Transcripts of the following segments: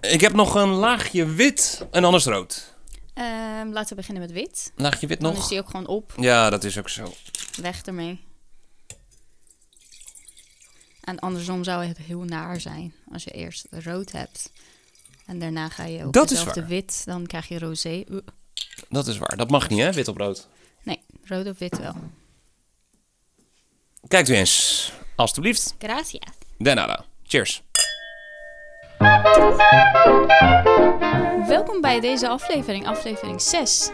Ik heb nog een laagje wit en anders rood. Ehm, laten we beginnen met wit. Laagje wit Dan is nog? die ook gewoon op. Ja, dat is ook zo. Weg ermee. En andersom zou het heel naar zijn. Als je eerst rood hebt. En daarna ga je op Dat is dezelfde waar. wit. Dan krijg je rosé. Uh, Dat is waar. Dat mag niet, hè? Wit op rood. Nee, rood of wit wel. Kijkt u eens. Alsjeblieft. Gracias. De nada. Cheers. Welkom bij deze aflevering, aflevering 6.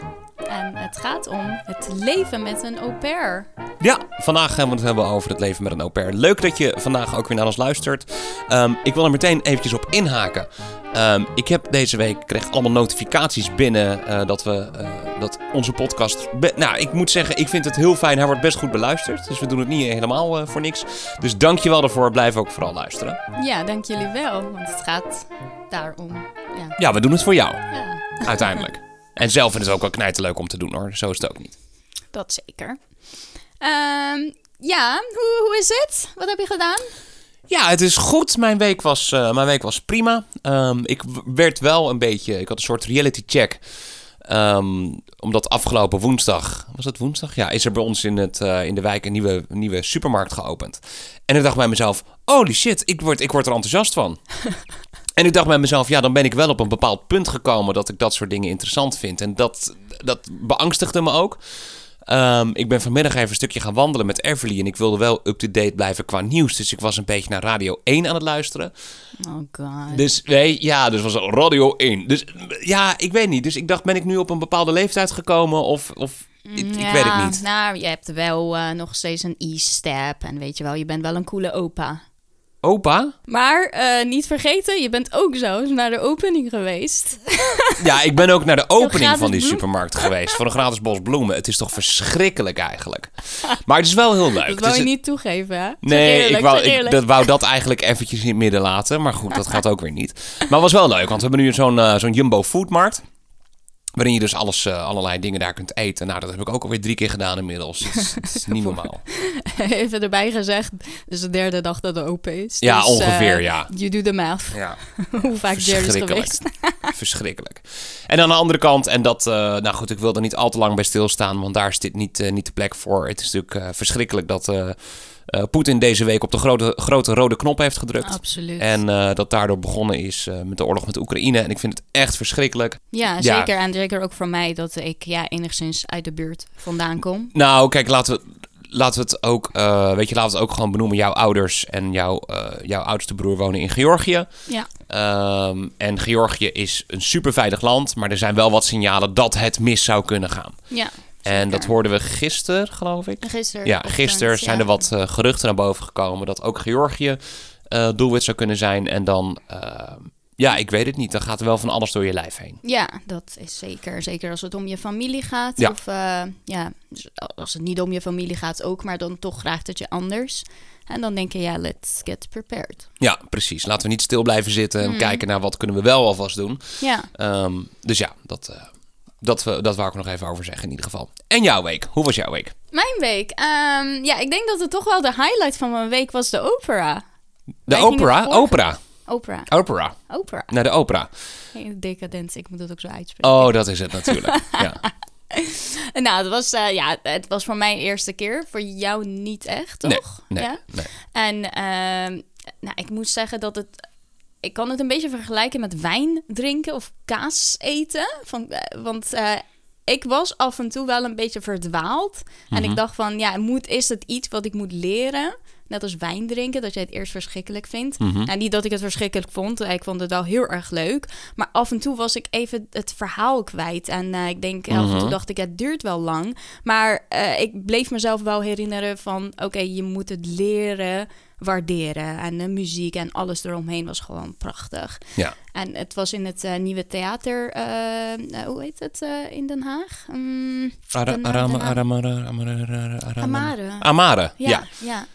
En het gaat om het leven met een au pair. Ja, vandaag gaan we het hebben over het leven met een au pair. Leuk dat je vandaag ook weer naar ons luistert. Ehm, ik wil er meteen eventjes op inhaken. Ehm, ik heb deze week kreeg allemaal notificaties binnen eh, dat we eh, dat onze podcast. be- nou, ik moet zeggen, ik vind het heel fijn. Hij wordt best goed beluisterd. Dus we doen het niet helemaal eh, voor niks. Dus dankjewel daarvoor. Blijf ook vooral luisteren. Ja, dank jullie wel, want het gaat daarom. Ja. Ja, we doen het voor jou. ja, Uiteindelijk. En zelf vind ik het ook wel knijterleuk om te doen hoor. Zo is het ook niet. dat zeker. Ehm, ja, hoe, hoe is het? Wat heb je gedaan? Ja, het is goed. Mijn week was, eh, mijn week was prima. Ehm, ik w- werd wel een beetje. Ik had een soort reality check. Ehm, omdat afgelopen woensdag. Was dat woensdag? Ja, is er bij ons in, het, eh, in de wijk een nieuwe, nieuwe supermarkt geopend. En ik dacht bij mezelf: holy shit, ik word, ik word er enthousiast van. En ik dacht bij mezelf, ja, dan ben ik wel op een bepaald punt gekomen dat ik dat soort dingen interessant vind. En dat, dat beangstigde me ook. Ehm, ik ben vanmiddag even een stukje gaan wandelen met Everly. En ik wilde wel up-to-date blijven qua nieuws. Dus ik was een beetje naar Radio 1 aan het luisteren. Oh god. Dus nee, ja, dus was het Radio 1. Dus ja, ik weet niet. Dus ik dacht, ben ik nu op een bepaalde leeftijd gekomen? Of, of ik, ik weet het niet. Nou, je hebt wel eh, nog steeds een e-step en weet je wel, je bent wel een coole opa. Opa? Maar eh, niet vergeten, je bent ook zo eens naar de opening geweest. Ja, ik ben ook naar de opening gratis van die bloem. supermarkt geweest. Van een gratis bos bloemen. Het is toch verschrikkelijk eigenlijk. Maar het is wel heel leuk. Dat Het wou is je een- niet toegeven, hè? Zeg Nee, eerlijk, ik, wou, zeg ik eerlijk. dat, wou dat eigenlijk eventjes in het midden laten. Maar goed, dat gaat ook weer niet. Maar het was wel leuk, want we hebben nu zo'n eh, zo'n Jumbo Foodmarkt. Waarin je dus alles, eh, allerlei dingen daar kunt eten. Nou, dat heb ik ook alweer drie keer gedaan inmiddels. Het is, het is niet normaal. Even erbij gezegd, dus de derde dag dat het open is. Ja, Dus, eh, ongeveer, ja. Je doet de math. Ja, Hoe vaak Jerry is verschrikkelijk. geweest. Verschrikkelijk. En aan de andere kant, en dat, eh, nou goed, ik wil er niet al te lang bij stilstaan, want daar is dit niet, eh, niet de plek voor. Het is natuurlijk eh, verschrikkelijk dat eh, eh, Poetin deze week op de grote, grote rode knop heeft gedrukt. Absoluut. En eh, dat daardoor begonnen is eh, met de oorlog met Oekraïne. En ik vind het echt verschrikkelijk. ja, ja. zeker. En zeker ook voor mij dat ik ja, enigszins uit de buurt vandaan kom. Nou, kijk, laten we, laten we het ook, eh, weet je, laten we het ook gewoon benoemen. Jouw ouders en jouw, eh, jouw oudste broer wonen in Georgië. Ja, Ehm, en Georgië is een superveilig land, maar er zijn wel wat signalen dat het mis zou kunnen gaan. ja. En dat hoorden we gisteren, geloof ik. Gisteren. Ja, ochtend, gisteren zijn ja. er wat eh, geruchten naar boven gekomen dat ook Georgië eh, doelwit zou kunnen zijn. En dan, eh, ja, ik weet het niet. Dan gaat er wel van alles door je lijf heen. Ja, dat is zeker. Zeker als het om je familie gaat. Ja. Of eh, ja, dus als het niet om je familie gaat ook, maar dan toch graag dat je anders. En dan denk je, ja, let's get prepared. Ja, precies. Laten we niet stil blijven zitten Mhm. en kijken naar wat kunnen we wel alvast doen. Ja. Ehm, dus ja, dat, eh, dat, we, dat wou ik er nog even over zeggen in ieder geval. En jouw week. Hoe was jouw week? Mijn week. Ehm, ja, ik denk dat het toch wel de highlight van mijn week was de opera. De Wij gingen opera? vorige- Opera. Opera. Opera. Opera. Naar de opera. Hey, Decadent, ik moet het ook zo uitspreken. Oh, dat is het natuurlijk. ja. Oh. Nou, het was, eh, ja, het was voor mij eerste keer. Voor jou niet echt, Nee, toch? nee, ja? nee. En ehm, nou, ik moet zeggen dat het... Ik kan het een beetje vergelijken met wijn drinken of kaas eten. Van, eh, want eh, ik was af en toe wel een beetje verdwaald. En ik dacht van, ja, moet, is het iets wat ik moet leren? Net als wijn drinken, dat jij het eerst verschrikkelijk vindt. En niet dat ik het verschrikkelijk vond. Ik vond het wel heel erg leuk. Maar af en toe was ik even het verhaal kwijt. En eh, ik denk, af en toe dacht ik, ja, het duurt wel lang. Maar eh, ik bleef mezelf wel herinneren van... oké, je moet het leren waarderen. En de muziek en alles eromheen was gewoon prachtig. ja. En het was in het eh, nieuwe theater... eh, eh, hoe heet het eh, in Den Haag? Mm, Ara- Den- arama- Den Haag. arama- arama- arama- arama- Amare. Amare, Ja, ja. ja.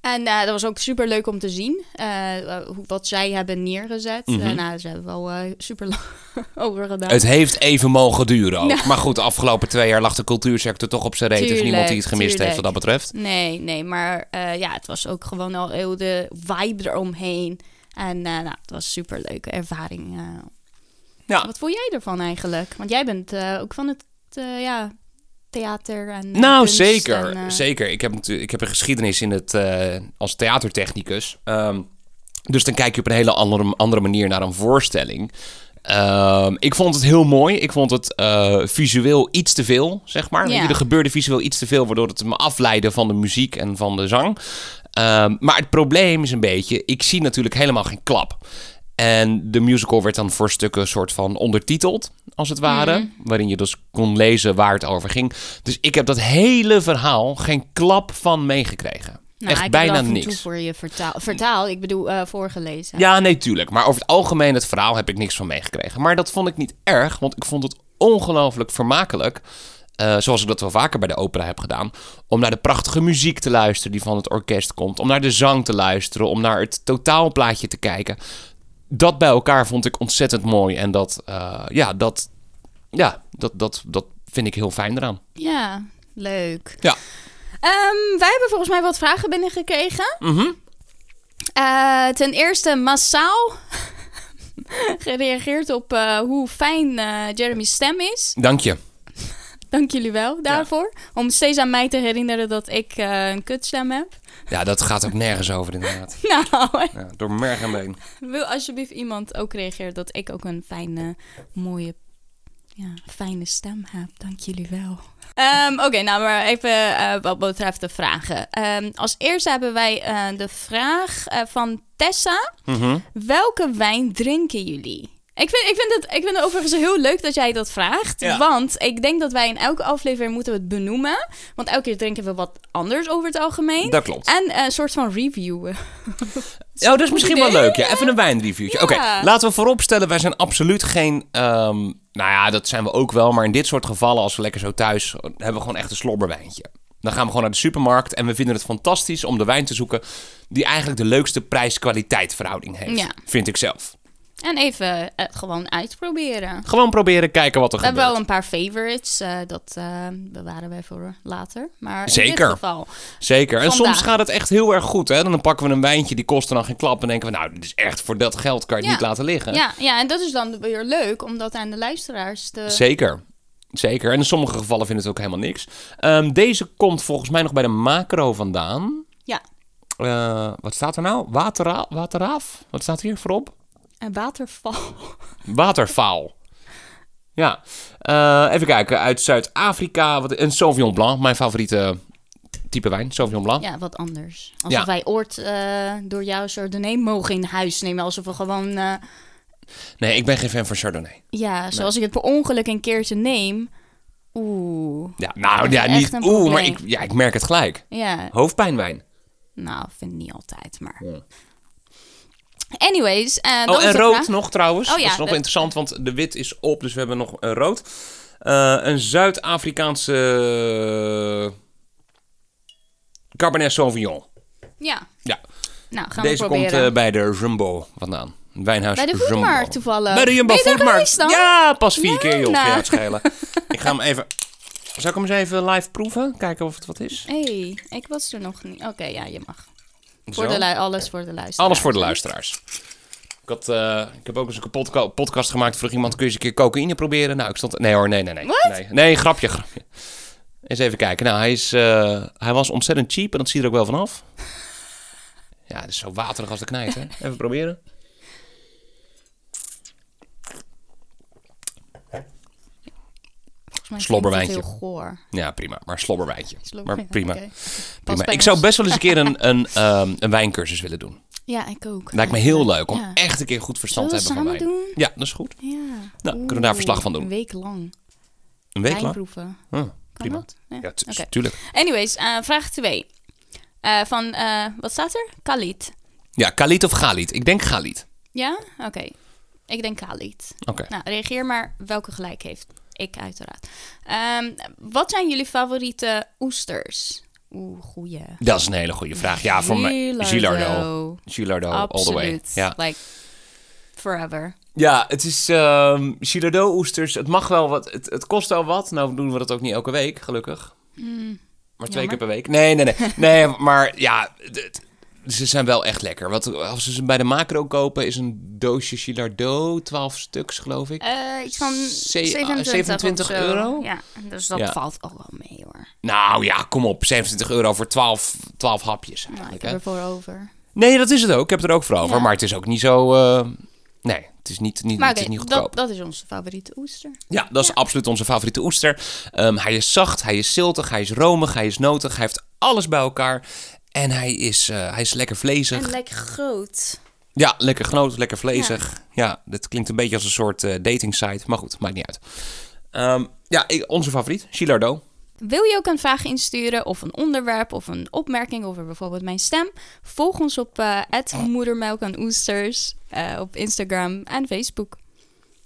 En eh, dat was ook super leuk om te zien. eh, hoe- wat zij hebben neergezet. Mhm. Eh, nou, ze hebben wel eh, super lang over gedaan. Het heeft even mogen duren ook. Maar goed, de afgelopen twee jaar lag de cultuursector toch op zijn reet. Dus Tuurlijk, niemand die het gemist heeft tuurlijk. wat dat betreft. Nee, nee, maar eh, ja, het was ook gewoon al heel de vibe eromheen. En eh, nou, het was een superleuke ervaring. eh. Ja. Wat voel jij ervan eigenlijk? Want jij bent eh, ook van het eh, ja, theater en eh, Nou, kunst zeker. en, eh, Zeker. Ik heb, natuurlijk- ik heb een geschiedenis in het, eh, als theatertechnicus. Ehm, dus dan kijk je op een hele andere, andere manier naar een voorstelling. Ehm, ik vond het heel mooi. Ik vond het eh, visueel iets te veel, zeg maar. Ja. Weet je, Er gebeurde visueel iets te veel, waardoor het me afleidde van de muziek en van de zang. Ehm, maar het probleem is een beetje, ik zie natuurlijk helemaal geen klap. En de musical werd dan voor stukken soort van ondertiteld, als het ware. Mhm. Waarin je dus kon lezen waar het over ging. Dus ik heb dat hele verhaal geen klap van meegekregen. nou, Echt ik bijna heb er af en toe niks. voor je vertaal, vertaal ik bedoel eh, voorgelezen. Ja, nee, tuurlijk. Maar over het algemeen, het verhaal heb ik niks van meegekregen. Maar dat vond ik niet erg, want ik vond het ongelooflijk vermakelijk. eh, zoals ik dat wel vaker bij de opera heb gedaan. Om naar de prachtige muziek te luisteren die van het orkest komt. Om naar de zang te luisteren. Om naar het totaalplaatje te kijken. Dat bij elkaar vond ik ontzettend mooi. En dat, eh, ja, dat, ja dat, dat, dat vind ik heel fijn eraan. Ja, leuk. Ja. Ehm, wij hebben volgens mij wat vragen binnengekregen. Mhm. Eh, ten eerste massaal gereageerd op eh, hoe fijn eh, Jeremy's stem is. Dank je. Dank jullie wel daarvoor. Om steeds aan mij te herinneren dat ik eh, een kutstem heb. Ja, dat gaat ook nergens over inderdaad. Nou, Ja, door merg en been. wil alsjeblieft iemand ook reageren dat ik ook een fijne, mooie, ja, fijne stem heb. Dank jullie wel. Ehm, Oké, nou maar even eh, wat betreft de vragen. Ehm, als eerste hebben wij eh, de vraag eh, van Tessa. Mhm. Welke wijn drinken jullie? Ik vind, ik, vind het, ik vind het overigens heel leuk dat jij dat vraagt. Ja. Want ik denk dat wij in elke aflevering moeten we het benoemen. Want elke keer drinken we wat anders over het algemeen. Dat klopt. En eh, een soort van reviewen. Oh, dat is misschien wel idee, leuk. Ja, even een wijnreviewtje. Ja. Oké, laten we vooropstellen, wij zijn absoluut geen... ehm, nou ja, dat zijn we ook wel. Maar in dit soort gevallen, als we lekker zo thuis... hebben we gewoon echt een slobberwijntje. Dan gaan we gewoon naar de supermarkt en we vinden het fantastisch om de wijn te zoeken... die eigenlijk de leukste prijs-kwaliteit verhouding heeft. Ja. Vind ik zelf. En even eh, gewoon uitproberen. Gewoon proberen, kijken wat er We hebben gebeurt. wel een paar favorites. eh, dat eh, bewaren wij voor eh, later. Maar in Zeker. dit geval. Zeker. En Vandaag. soms gaat het echt heel erg goed. Hè? Dan pakken we een wijntje, die kost dan geen klap. En denken we, nou, dit is echt voor dat geld kan je het Ja. niet laten liggen. Ja, ja, en dat is dan weer leuk om dat aan de luisteraars te. Dus- Zeker. Zeker. En in sommige gevallen vindt het ook helemaal niks. Ehm, deze komt volgens mij nog bij de macro vandaan. Ja, Eh, wat staat er nou? Watera wateraaf? Wat staat hier voorop? een waterval. Waterfaal. Ja. Eh, even kijken. Uit Zuid-Afrika. Wat- Een Sauvignon Blanc. Mijn favoriete type wijn. Sauvignon Blanc. Ja, wat anders. Alsof Ja. wij ooit eh, door jou Chardonnay mogen in huis nemen. Alsof we gewoon. eh, Nee, ik ben geen fan van Chardonnay. ja, zoals ik het per ongeluk een keertje neem. Oeh. Ja, nou ja, Echt niet. een Oeh, maar probleem. ik, ja, ik merk het gelijk. Ja, Hoofdpijnwijn. nou, vind ik niet altijd, maar. Ja. Anyways. eh, dat Oh, was en de rood vraag. nog trouwens. Oh ja, dat is nog dat- wel interessant, want de wit is op, dus we hebben nog eh, rood. Eh, een Zuid-Afrikaanse eh, Cabernet Sauvignon. Ja. Ja, Nou, gaan deze we komt proberen. eh, bij de Jumbo vandaan. Een Wijnhuis Bij de Jumbo. voetmarkt toevallig. Bij de Jumbo Ben je daar Voetmarkt. geweest dan? Ja, pas vier keer joh, kan nou. je het schelen. Ik ga hem even... Zal ik hem eens even live proeven? Kijken of het wat is? Hé, hey, ik was er nog niet. Oké, ja, je mag. Voor Zo. de lui- alles voor de luisteraar. Alles voor de luisteraars. Ik, had, eh, ik heb ook eens een podca- podcast gemaakt. Vroeg iemand, kun je eens een keer cocaïne proberen? Nou, ik stond... Nee hoor, nee, nee, nee. Nee, nee grapje, grapje. Eens even kijken. Nou, hij, is, eh, hij was ontzettend cheap en dat zie je er ook wel vanaf. Ja, het is zo waterig als de knijt, hè? Even proberen. Volgens mij Slobberwijntje. klinkt het Heel goor. Ja, prima. Maar slobberwijntje. Maar Slobberwijntje, prima. oké. Pas prima. bij Ik zou ons. best wel eens een keer een, een, ehm, een wijncursus willen doen. Ja, ik ook. Lijkt me heel leuk om Ja. echt een keer goed verstand te hebben Zullen van we wijn. samen doen? Ja, dat is goed. Ja. Nou, kunnen we daar verslag van doen? Een week lang. Een week lang. Wijnproeven. Kan Hm, prima. dat? Ja. Ja, tu- Oké. tuurlijk. Anyways, eh, vraag 2. van, eh, wat staat er? Khalid. Ja, Khalid of Galit? Ik denk Galit. Ja? Oké. Ik denk Khalid. Oké. Nou, reageer maar welke gelijk heeft. Ik uiteraard. Ehm, wat zijn jullie favoriete oesters? Oeh, goeie. Dat is een hele goede vraag. Ja, voor mij. Gilardo. Gilardo. Gilardo, all the way. Absoluut. Ja, Like, forever. ja het is ehm Gilardo-oesters. Het mag wel wat. Het, het kost wel wat. Nou doen we dat ook niet elke week, gelukkig. maar twee Mm, jammer. keer per week. Nee, nee, nee. nee, maar ja, het- het- ze zijn wel echt lekker. Wat, als we ze bij de macro kopen, is een doosje Gilardo, 12 stuks geloof ik. Eh, iets van Ze- 27, 27 of zo. ah, euro? Ja, dus dat Ja. valt ook wel mee hoor. Nou ja, kom op, 27 euro voor 12, 12 hapjes Nou, ik eigenlijk. heb hè? ervoor over. Nee, dat is het ook. Ik heb er ook voor over. Ja. Maar het is ook niet zo... eh, Nee, het is niet, niet, Maar het oké, is niet goedkoop. dat, dat is onze favoriete oester. Ja, dat is absoluut onze favoriete oester. Ehm, hij is zacht, hij is ziltig, hij is romig, hij is notig. Hij heeft alles bij elkaar. En hij is, eh, hij is lekker vlezig. En lekker groot. Ja, lekker knoot, lekker vlezig. Ja. dat klinkt een beetje als een soort eh dating site. Maar goed, maakt niet uit. Ehm, ja, ik- onze favoriet, Gilardo. Wil je ook een vraag insturen of een onderwerp of een opmerking over bijvoorbeeld mijn stem? Volg ons op eh Ah. moedermelk en oesters eh, op Instagram en Facebook.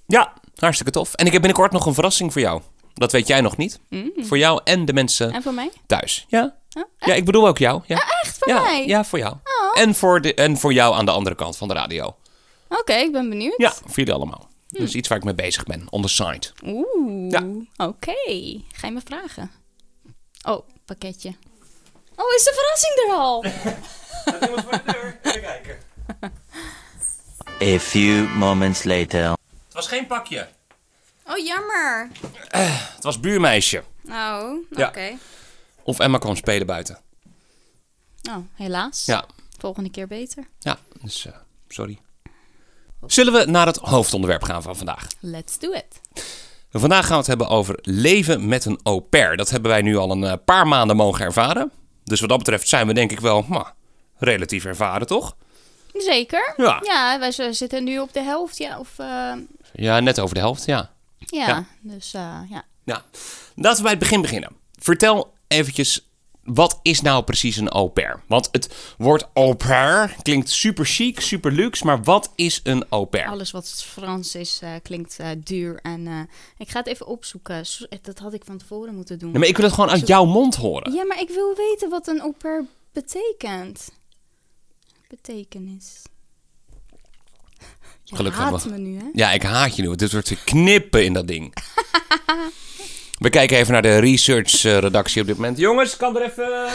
Ja, hartstikke tof. En ik heb binnenkort nog een verrassing voor jou. Dat weet jij nog niet. Voor jou en de mensen Mm. En voor mij? thuis. Ja? Oh, Ah, Ja, ik bedoel ook jou. Ja, Echt voor ja, mij? Oh. ja voor jou. En, voor de, en voor jou aan de andere kant van de radio. Oké, ik ben benieuwd. Ja, voor jullie allemaal. Hm. Dus iets waar ik mee bezig ben, on the side. Oeh, Ja. oké. Ga je me vragen? Oh, pakketje. Oh, is de verrassing er al? A few moments later. Het was geen pakje. Oh, jammer. Het was buurmeisje. Nou, oké. Ja. Of Emma kwam spelen buiten. Nou, helaas. Ja, Volgende keer beter. ja dus eh, sorry. Zullen we naar het hoofdonderwerp gaan van vandaag? Let's do it. Vandaag gaan we het hebben over leven met een au pair. Dat hebben wij nu al een eh, paar maanden mogen ervaren. Dus wat dat betreft zijn we denk ik wel maar, relatief ervaren, toch? Zeker. Ja. Ja, wij z- zitten nu op de helft, ja. Of, eh, Ja, net over de helft, ja. ja. Ja. dus eh, ja. Nou, laten we bij het begin beginnen. Vertel eventjes, wat is nou precies een au pair? Want het woord au pair klinkt super chic, super luxe, maar wat is een au pair? Alles wat Frans is, eh, klinkt eh, duur. En eh, ik ga het even opzoeken. Zo- eh, Dat had ik van tevoren moeten doen. Nee, maar ik wil het gewoon uit jouw mond horen. Ja, maar ik wil weten wat een au pair betekent. Betekenis. Je Gelukkig haat hebben me nu, hè? Ja, ik haat je nu. want Dit wordt weer knippen in dat ding. We kijken even naar de research-redactie op dit moment. Jongens, kan er even...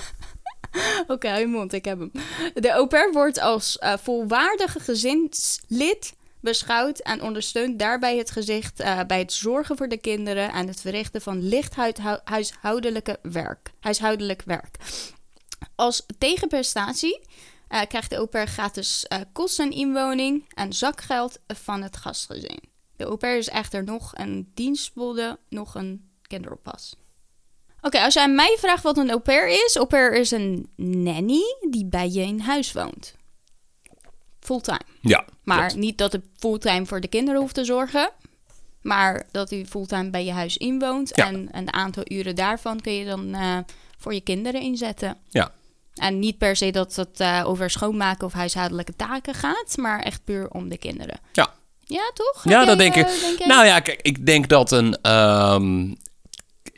Oké, hou je mond, ik heb hem. De au pair wordt als eh, volwaardige gezinslid beschouwd en ondersteunt daarbij het gezicht eh, bij het zorgen voor de kinderen en het verrichten van licht huidhou- huishoudelijke werk, huishoudelijk werk. Als tegenprestatie eh, krijgt de au pair gratis eh, kosten inwoning en zakgeld van het gastgezin. De au pair is echter nog een dienstbode, nog een kinderoppas. Oké, als jij aan mij vraagt wat een au pair is, au pair is een nanny die bij je in huis woont. Fulltime. Ja, Maar klopt. niet dat hij fulltime voor de kinderen hoeft te zorgen, maar dat hij fulltime bij je huis inwoont. Ja. En een aantal uren daarvan kun je dan eh, voor je kinderen inzetten. Ja. En niet per se dat het eh, over schoonmaken of huishoudelijke taken gaat, maar echt puur om de kinderen. Ja. Ja, toch? Ja, Heb dat jij, denk ik. eh, jij- Nou ja, kijk, ik denk dat een... ehm,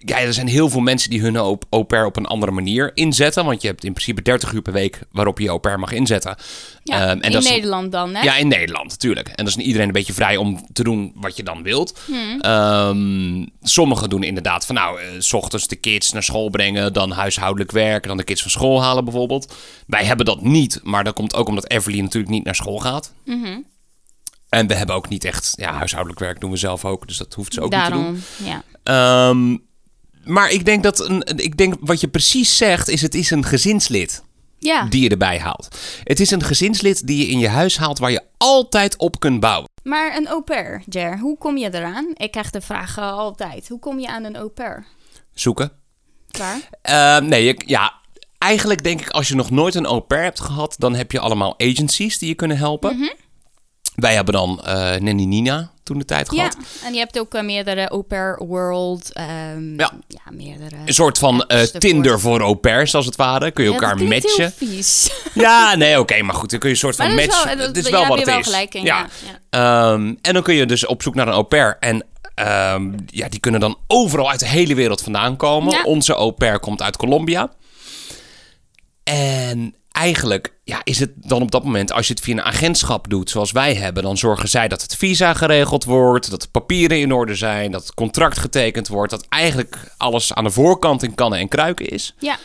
Ja, er zijn heel veel mensen die hun au au pair op een andere manier inzetten. Want je hebt in principe 30 uur per week waarop je je au pair mag inzetten. Ja, Ehm, en in dat is- Nederland dan, hè? Ja, in Nederland natuurlijk. En dan is niet iedereen een beetje vrij om te doen wat je dan wilt. Ehm, sommigen doen inderdaad van nou, eh, s ochtends de kids naar school brengen, dan huishoudelijk werken, dan de kids van school halen bijvoorbeeld. Wij hebben dat niet, maar dat komt ook omdat Everly natuurlijk niet naar school gaat. En we hebben ook niet echt, ja, huishoudelijk werk doen we zelf ook, dus dat hoeft ze ook niet te doen. Daarom, ja. Ehm, maar ik denk dat een, ik denk wat je precies zegt is het is een gezinslid Ja, die je erbij haalt. Het is een gezinslid die je in je huis haalt waar je altijd op kunt bouwen. maar een au pair, Jer, hoe kom je eraan? Ik krijg de vraag eh, altijd. Hoe kom je aan een au pair? Zoeken. Klaar? Eh, nee, ik, ja. Eigenlijk denk ik als je nog nooit een au pair hebt gehad, dan heb je allemaal agencies die je kunnen helpen. Wij hebben dan eh Nanny Nina toen de tijd Ja, gehad. en je hebt ook eh, meerdere au pair world. ehm, Ja. meerdere. Een soort van eh, ervoor. Tinder voor au pairs als het ware. Kun je elkaar matchen. Ja, nee, oké, maar goed, dan kun je een soort van Maar dat is match. wel- dat- Het is daar wel heb wat je het wel is. gelijk in, Ehm, en dan kun je dus op zoek naar een au pair. En ehm, ja, die kunnen dan overal uit de hele wereld vandaan komen. Ja. Onze au pair komt uit Colombia. En eigenlijk ja, is het dan op dat moment, als je het via een agentschap doet zoals wij hebben, dan zorgen zij dat het visa geregeld wordt, dat de papieren in orde zijn, dat het contract getekend wordt, dat eigenlijk alles aan de voorkant in kannen en kruiken is. Ja,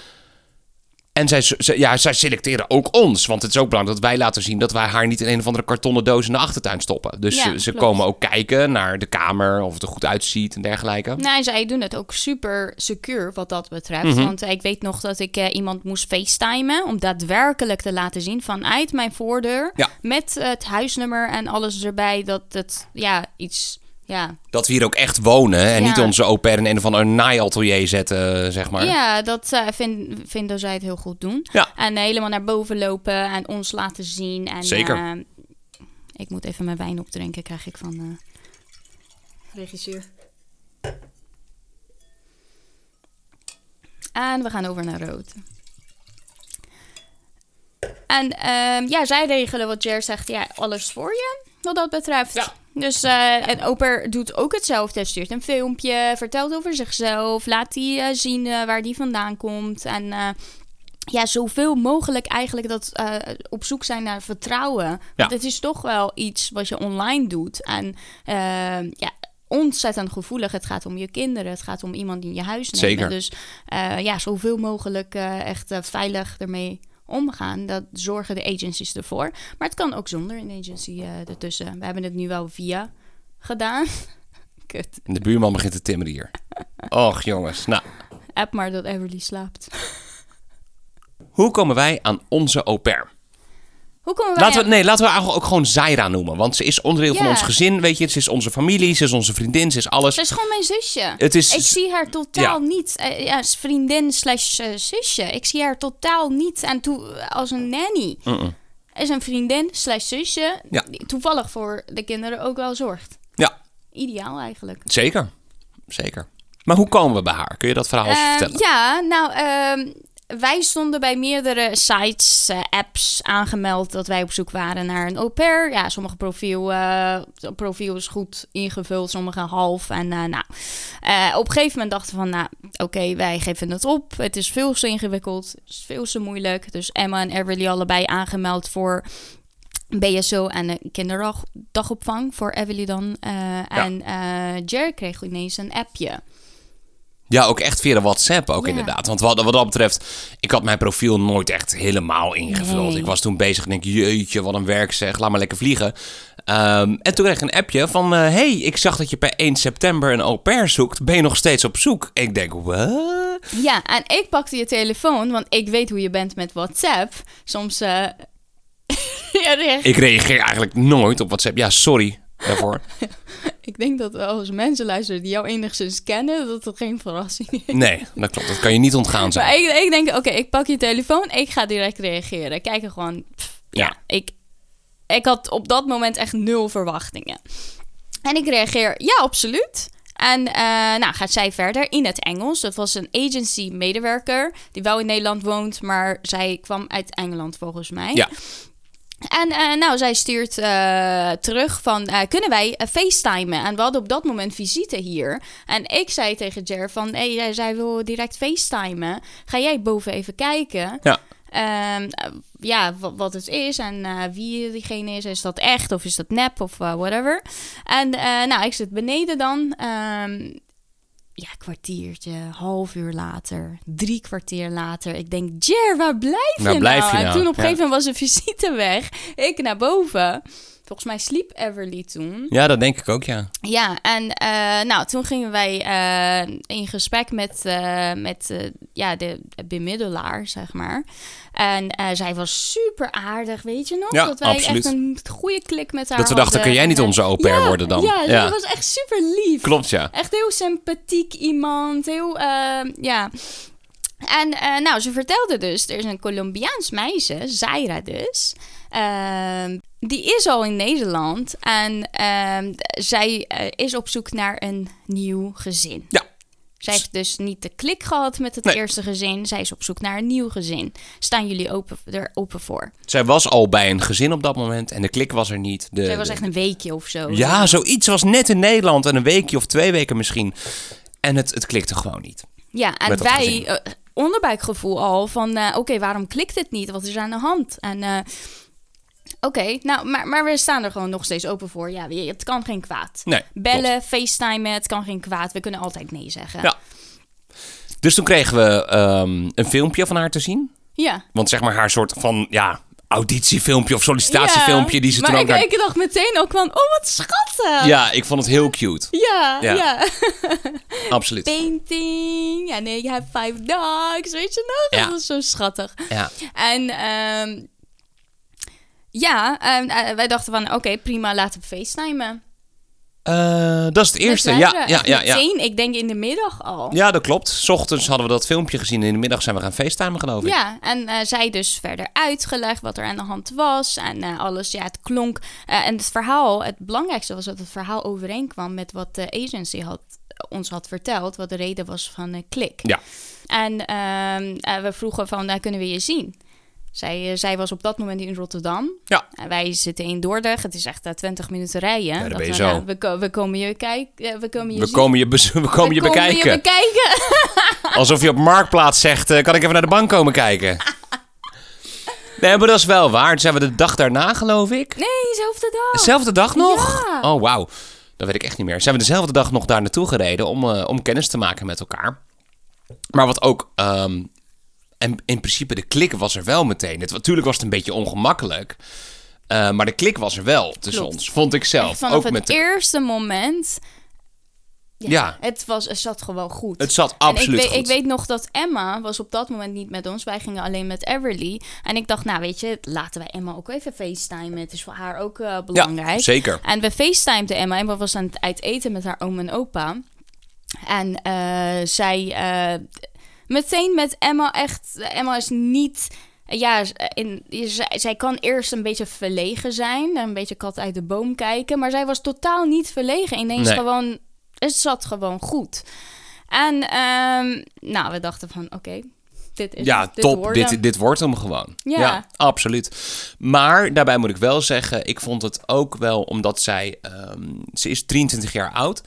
En zij, ze- ja, zij selecteren ook ons. Want het is ook belangrijk dat wij laten zien dat wij haar niet in een of andere kartonnen doos in de achtertuin stoppen. Dus Ja, ze, ze klopt. komen ook kijken naar de kamer, of het er goed uitziet en dergelijke. Nou, en zij doen het ook super secuur wat dat betreft. Mhm. Want eh, ik weet nog dat ik eh, iemand moest facetimen om daadwerkelijk te laten zien vanuit mijn voordeur. Ja. Met eh, het huisnummer en alles erbij dat het, ja, iets, ja... Dat we hier ook echt wonen en Ja. niet onze au pair in een of ander naaiatelier zetten, zeg maar. Ja, dat eh vind, vinden zij het heel goed doen. Ja. En eh, helemaal naar boven lopen en ons laten zien. En, Zeker. eh, ik moet even mijn wijn opdrinken, krijg ik van... eh Regisseur. En we gaan over naar rood. En ehm, ja, zij regelen wat Jer zegt. Ja, alles voor je, wat dat betreft. Ja. Dus eh en Oper doet ook hetzelfde. Stuurt een filmpje, vertelt over zichzelf. Laat die eh, zien eh, waar die vandaan komt. En eh, ja, zoveel mogelijk eigenlijk dat eh, op zoek zijn naar vertrouwen. Want het is toch wel iets wat je online doet. En ehm, ja, ontzettend gevoelig. Het gaat om je kinderen. Het gaat om iemand die in je huis neemt. Zeker. Dus eh, ja, zoveel mogelijk eh, echt eh, veilig ermee omgaan. Dat zorgen de agencies ervoor. Maar het kan ook zonder een agency eh, ertussen. We hebben het nu wel via gedaan. Kut. En de buurman begint te timmeren hier. Och jongens, nou. App maar dat Everly slaapt. Hoe komen wij aan onze au Nou pair? Hoe komen wij Laten aan- we, nee, laten we haar ook gewoon Zaira noemen. Want ze is onderdeel van Ja. Dus- ons gezin, weet je. Ze is onze familie, ze is onze vriendin, ze is alles. Ze is gewoon mijn zusje. Het is- ik zie haar totaal Ja. niet eh, ja, als vriendin slash eh, zusje. Ik zie haar totaal niet aan toe, eh, als een nanny. Is een vriendin slash zusje Ja. die toevallig voor de kinderen ook wel zorgt. Ja, Ideaal eigenlijk. zeker. Zeker. Maar hoe komen we bij haar? Kun je dat verhaal eens Eh, vertellen? ja, nou, ehm, wij stonden bij meerdere sites, eh, apps aangemeld dat wij op zoek waren naar een au pair. Ja, sommige profiel, eh, profiel is goed ingevuld, sommige half. En eh, nou, eh, op een gegeven moment dachten we van, nou, oké, wij geven het op. Het is veel te ingewikkeld, het is veel te moeilijk. Dus Emma en Everly allebei aangemeld voor BSO en een kinderdagopvang voor Everly dan. Eh, En eh, Jer kreeg ineens een appje. Ja, ook echt via de WhatsApp ook Ja. inderdaad. Want wat, wat dat betreft, ik had mijn profiel nooit echt helemaal ingevuld. Nee. Ik was toen bezig en denk, jeetje, wat een werk zeg, laat maar lekker vliegen. Ehm, en toen kreeg ik een appje van, eh, hey, ik zag dat je per 1 september een au pair zoekt. Ben je nog steeds op zoek? Ik denk, wat? Ja, en ik pakte je telefoon, want ik weet hoe je bent met WhatsApp. Soms. eh ja, echt. Ik reageer eigenlijk nooit op WhatsApp. Ja, sorry daarvoor. Ik denk dat als mensen luisteren die jou enigszins kennen, dat dat geen verrassing is. Nee, dat klopt. Dat kan je niet ontgaan zijn. Maar ik, ik denk, oké, ik pak je telefoon, ik ga direct reageren. Kijken gewoon. pff, ja. Ja. ik, ik had op dat moment echt nul verwachtingen. En ik reageer, ja, absoluut. En eh, nou gaat zij verder in het Engels. Dat was een agency-medewerker die wel in Nederland woont, maar zij kwam uit Engeland volgens mij. Ja. En eh, nou, zij stuurt eh, terug van, eh, kunnen wij eh, facetimen? En we hadden op dat moment visite hier. En ik zei tegen Jer van, hey, jij- zij wil direct facetimen. Ga jij boven even kijken? Ja. Ehm, eh, ja, wa- wat, het is en eh, wie diegene is. Is dat echt of is dat nep of eh, whatever. En eh, nou, ik zit beneden dan. Ehm, ja, kwartiertje, half uur later, drie kwartier later. Ik denk, Jer, waar blijf je Waar nou? blijf je en nou? toen op een Ja. gegeven moment was de visite weg. Ik naar boven. Volgens mij sliep Everly toen. Ja, dat denk ik ook, ja. Ja, en eh, nou, toen gingen wij eh, in gesprek met, eh, met eh, ja, de bemiddelaar, zeg maar. En eh, zij was super aardig, weet je nog? Ja, dat wij absoluut. echt een goede klik met haar Dat we dachten, hadden. kun jij niet En, eh, onze au pair ja, worden dan? Ja, Ja. dat was echt super lief. Klopt, ja. Echt heel sympathiek iemand. Heel, eh, ja. En eh, nou, ze vertelde dus, er is een Colombiaans meisje, Zaira dus. ehm, die is al in Nederland en ehm, zij eh, is op zoek naar een nieuw gezin. Ja. Zij heeft dus niet de klik gehad met het Nee. eerste gezin. Zij is op zoek naar een nieuw gezin. Staan jullie open, er open voor? Zij was al bij een gezin op dat moment en de klik was er niet. De, Zij was de- echt een weekje of zo. Ja, zoiets. Ze was net in Nederland en een weekje of twee weken misschien. En het, het klikte gewoon niet. Ja, en Met dat wij gezin. eh, onderbuikgevoel al van eh, oké, waarom klikt het niet? Wat is er aan de hand? En eh, oké, nou, maar, maar we staan er gewoon nog steeds open voor. Ja, we- het kan geen kwaad. Nee, Bellen, facetimen, het kan geen kwaad. We kunnen altijd nee zeggen. Ja. Dus toen kregen we ehm, een filmpje van haar te zien. Ja. Want zeg maar haar soort van ja, auditiefilmpje of sollicitatiefilmpje die ze maar toen ook ik, naar... ik dacht meteen ook van, oh wat schattig. Ja, ik vond het heel cute. Ja, Ja. ja. Absoluut. Painting. Ja, nee, je hebt five dogs. Weet je Ja. nog? Dat was zo schattig. Ja. En ehm, ja, ehm, eh, wij dachten van, oké, prima, laten we facetimen. Eh, dat is het eerste. Met Ja, Leideren. ja, ja, ja. Meteen, ik denk in de middag al. ja, dat klopt. 's ochtends hadden we dat filmpje gezien en in de middag zijn we gaan facetimen, geloof ik. Ja, en eh, zij dus verder uitgelegd wat er aan de hand was en eh, alles. Ja, het klonk. eh, en het verhaal, het belangrijkste was dat het verhaal overeenkwam met wat de agency had, eh, ons had verteld, wat de reden was van eh, klik. Ja. En ehm, eh, we vroegen van, eh, kunnen we je zien? Zij, eh, zij was op dat moment in Rotterdam. Ja. En wij zitten in Dordrecht. Het is echt eh, 20 minuten rijden. daar Dat ben je we, zo. nou, we, ko- we komen je kijken. we komen je We zien. komen je, bez- we komen je we komen bekijken. je bekijken. Alsof je op Marktplaats zegt, eh, kan ik even naar de bank komen kijken? Nee, maar dat is wel waar. Toen zijn we de dag daarna, geloof ik. Nee, zelfde dag. Dezelfde dag nog? Ja. Oh, wauw. Dat weet ik echt niet meer. Zijn we dezelfde dag nog daar naartoe gereden om, eh, om kennis te maken met elkaar. Maar wat ook... ehm, en in principe, de klik was er wel meteen. Het, natuurlijk was het een beetje ongemakkelijk. eh, maar de klik was er wel tussen Klopt. ons, vond ik Echt zelf. vanaf Ook het met de eerste moment. Ja. Het, was, het zat gewoon goed. Het zat En absoluut ik weet, goed. Ik weet nog dat Emma was op dat moment niet met ons. Wij gingen alleen met Everly. En ik dacht, nou weet je, laten wij Emma ook even facetimen. Het is voor haar ook eh, belangrijk. zeker. En we facetimeden Emma. Emma was aan het uit eten met haar oom en opa. En eh, zij eh, meteen met Emma echt... Emma is niet... Ja, in, zij, zij kan eerst een beetje verlegen zijn. Een beetje kat uit de boom kijken. Maar zij was totaal niet verlegen. Ineens Nee. gewoon... Het zat gewoon goed. En ehm, nou, we dachten van... Oké, dit is Ja, dit top. worden. Dit, dit wordt hem gewoon. Ja. Ja. absoluut. Maar daarbij moet ik wel zeggen, ik vond het ook wel omdat zij... ehm, ze is 23 jaar oud.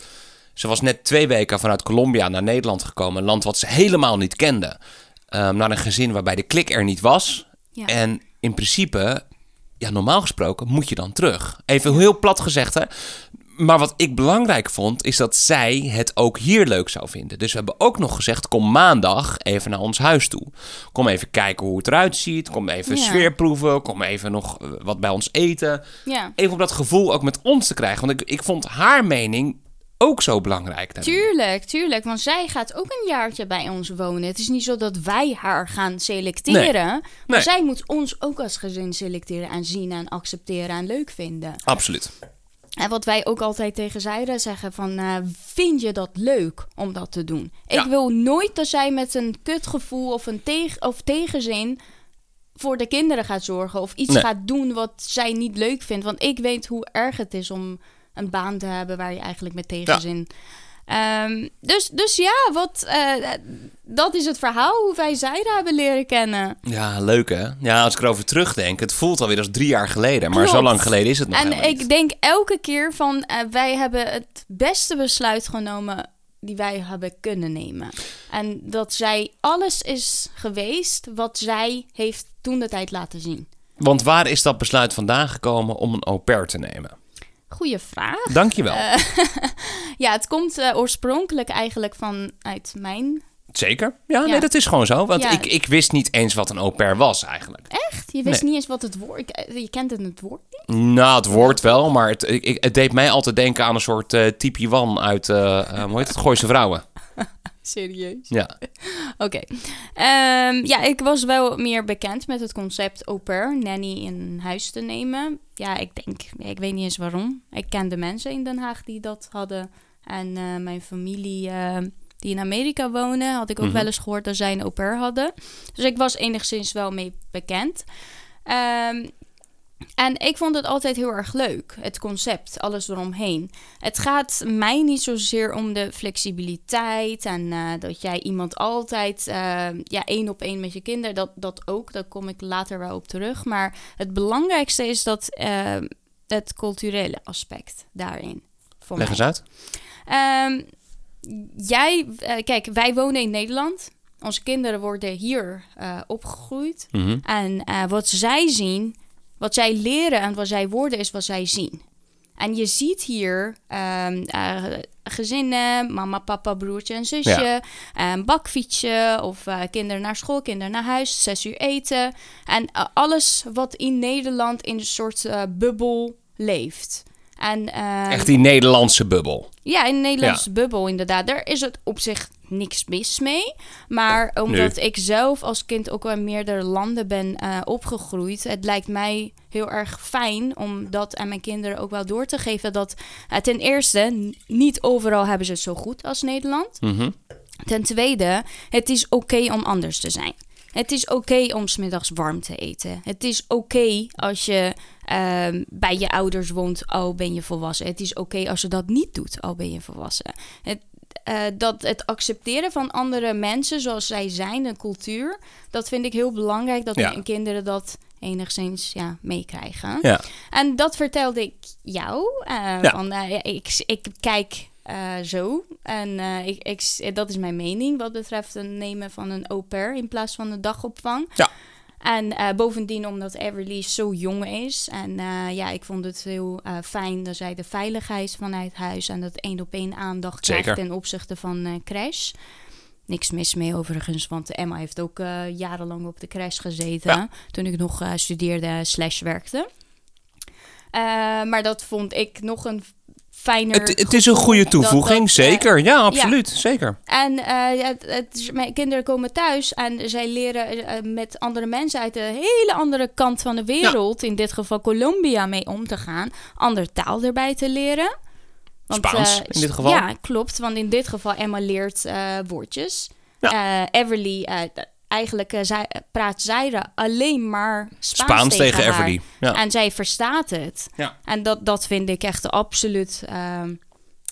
Ze was net twee weken vanuit Colombia naar Nederland gekomen. Een land wat ze helemaal niet kende. Ehm, naar een gezin waarbij de klik er niet was. Ja. En in principe, ja, normaal gesproken moet je dan terug. Even heel plat gezegd, hè. Maar wat ik belangrijk vond, is dat zij het ook hier leuk zou vinden. Dus we hebben ook nog gezegd: kom maandag even naar ons huis toe. Kom even kijken hoe het eruit ziet. Kom even Ja. sfeer proeven. Kom even nog eh, wat bij ons eten. Ja. Even om dat gevoel ook met ons te krijgen. Want ik, ik vond haar mening ook zo belangrijk. daarin. Tuurlijk, tuurlijk. Want zij gaat ook een jaartje bij ons wonen. Het is niet zo dat wij haar gaan selecteren. Maar Nee. zij moet ons ook als gezin selecteren en zien en accepteren en leuk vinden. Absoluut. En wat wij ook altijd tegen Zaira zeggen van... eh, vind je dat leuk om dat te doen? Ja. Ik wil nooit dat zij met een kutgevoel of een teg- of tegenzin... voor de kinderen gaat zorgen of iets Nee. gaat doen wat zij niet leuk vindt. Want ik weet hoe erg het is om een baan te hebben waar je eigenlijk met tegenzin... Ehm, dus, dus ja, wat, eh, eh, dat is het verhaal hoe wij Zaira hebben leren kennen. Ja, leuk hè? Ja, als ik erover terugdenk, het voelt alweer als drie jaar geleden. Maar zo Klopt. lang geleden is het nog En helemaal ik niet. denk elke keer van eh, wij hebben het beste besluit genomen die wij hebben kunnen nemen. En dat zij alles is geweest wat zij heeft toen de tijd laten zien. Want waar is dat besluit vandaan gekomen om een au pair te nemen? Goeie vraag. Dankjewel. Eh, Ja, het komt eh, oorspronkelijk eigenlijk vanuit mijn. Zeker. Ja, nee, Ja. dat is gewoon zo. Want Ja. ik, ik wist niet eens wat een au pair was eigenlijk. Echt? Je wist Nee. niet eens wat het woord. ik- Je kent het, het woord niet? Nou, het woord wel, maar het, ik, ik- het deed mij altijd denken aan een soort eh typie wan uit, eh, eh, hoe heet het, Gooise Vrouwen. Serieus. Ja. Oké. Ehm, ja, ik was wel meer bekend met het concept au pair, nanny in huis te nemen. Ja, ik denk, ik weet niet eens waarom. Ik kende mensen in Den Haag die dat hadden. En eh, mijn familie eh, die in Amerika wonen, had ik Mhm. ook wel eens gehoord dat zij een au pair hadden. Dus ik was enigszins wel mee bekend. Ehm, en ik vond het altijd heel erg leuk, het concept, alles eromheen. Het gaat mij niet zozeer om de flexibiliteit en eh, dat jij iemand altijd eh, ja, één op één met je kinderen, dat, dat ook, daar kom ik later wel op terug. Maar het belangrijkste is dat, eh, het culturele aspect daarin. Voor Leg mij. eens uit. Ehm, jij, eh, kijk, wij wonen in Nederland. Onze kinderen worden hier eh, opgegroeid. En eh, wat zij zien, wat zij leren en wat zij worden, is wat zij zien. En je ziet hier ehm, eh, gezinnen, mama, papa, broertje en zusje, eh, een bakfietsje of eh, kinderen naar school, kinderen naar huis, zes uur eten. En eh, alles wat in Nederland in een soort eh, bubbel leeft. En, ehm, Echt die Nederlandse bubbel. ja, in de Nederlandse bubbel inderdaad. Daar is het op zich niks mis mee. Maar omdat ik zelf als kind ook wel in meerdere landen ben eh, opgegroeid... het lijkt mij heel erg fijn om dat aan mijn kinderen ook wel door te geven. Dat eh, ten eerste, n- niet overal hebben ze het zo goed als Nederland. Mhm. Ten tweede, het is oké om anders te zijn. Het is oké om smiddags warm te eten. Het is oké als je ehm, bij je ouders woont, al ben je volwassen. Het is oké als je dat niet doet, al ben je volwassen. Het, eh, dat het accepteren van andere mensen zoals zij zijn, een cultuur, dat vind ik heel belangrijk dat Ja. mijn kinderen dat enigszins ja, meekrijgen. Ja. En dat vertelde ik jou. eh, Ja. Van, eh, ja, ik, ik kijk eh, zo. En eh, ik, ik, s- dat is mijn mening wat betreft het nemen van een au pair in plaats van een dagopvang. Ja. En eh, bovendien omdat Everly zo jong is. En eh, ja, ik vond het heel eh, fijn dat zij de veiligheid vanuit huis en dat één op één aandacht Zeker. krijgt ten opzichte van eh, crash. Niks mis mee overigens, want Emma heeft ook eh, jarenlang op de crash gezeten. Ja. Toen ik nog eh, studeerde slash werkte. Eh, maar dat vond ik nog een fijner... Het, het is een goede gevoel dat toevoeging, dat, eh, zeker. Ja, absoluut. Zeker. en eh, ja, het, het- mijn kinderen komen thuis en zij leren eh, met andere mensen uit de hele andere kant van de wereld, in dit geval Colombia, mee om te gaan. Ander taal erbij te leren. Spaans, eh, in dit geval. Ja, klopt. Want in dit geval Emma leert eh, woordjes. Eh, Everly, eh, d- eigenlijk eh, zij, praat Zaira alleen maar Spaans, Spaans tegen haar. Everly, ja. En zij verstaat het. Ja. En dat, dat vind ik echt absoluut. ehm,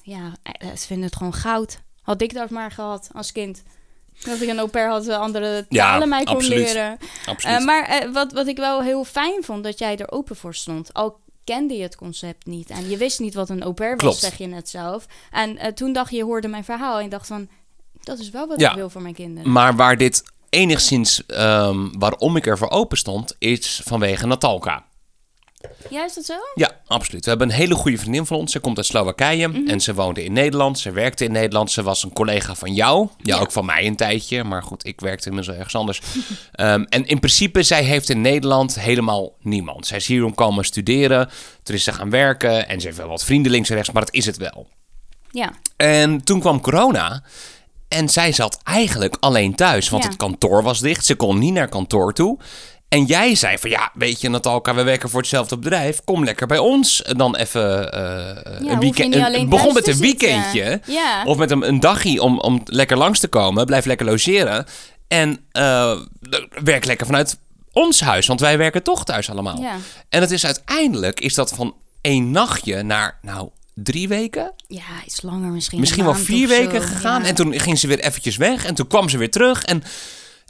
ja, eh, ze vinden het gewoon goud. Had ik dat maar gehad als kind. Dat ik een au pair had, eh, andere Ja, talen mij kon absoluut. leren. Absoluut. Eh, maar eh, wat, wat ik wel heel fijn vond, dat jij er open voor stond. Al kende je het concept niet. En je wist niet wat een au pair was, Klopt. zeg je net zelf. En eh, toen dacht je, je hoorde mijn verhaal en dacht van... Dat is wel wat Ja. Mm. ik wil voor mijn kinderen. Maar waar dit enigszins ehm, waarom ik ervoor open stond, is vanwege Natalka. Ja, is dat zo? Ja, absoluut. We hebben een hele goede vriendin van ons. Ze komt uit Slowakije en ze woonde in Nederland. Ze werkte in Nederland. Ze was een collega van jou. Ja, ook van mij een tijdje. Maar goed, ik werkte inmiddels ergens anders. Ehm, en in principe, zij heeft in Nederland helemaal niemand. Zij is hier om komen studeren. Toen is ze gaan werken en ze heeft wel wat vrienden links en rechts, maar dat is het wel. Ja. En toen kwam corona. En zij zat eigenlijk alleen thuis. Want Ja. het kantoor was dicht. Ze kon niet naar kantoor toe. En jij zei van ja, weet je Natalka, we werken voor hetzelfde bedrijf. Kom lekker bij ons. En Dan even eh, hoef een je weekend. niet een- alleen begon thuis met te een zitten. weekendje. Ja. Of met een, een dagje om, om lekker langs te komen. Blijf lekker logeren. En eh, werk lekker vanuit ons huis. Want wij werken toch thuis allemaal. Ja. En het is uiteindelijk is dat van één nachtje naar nou drie weken. Ja, iets langer misschien. Misschien een wel maand vier of zo, weken gegaan. ja. En toen ging ze weer eventjes weg. En toen kwam ze weer terug. En,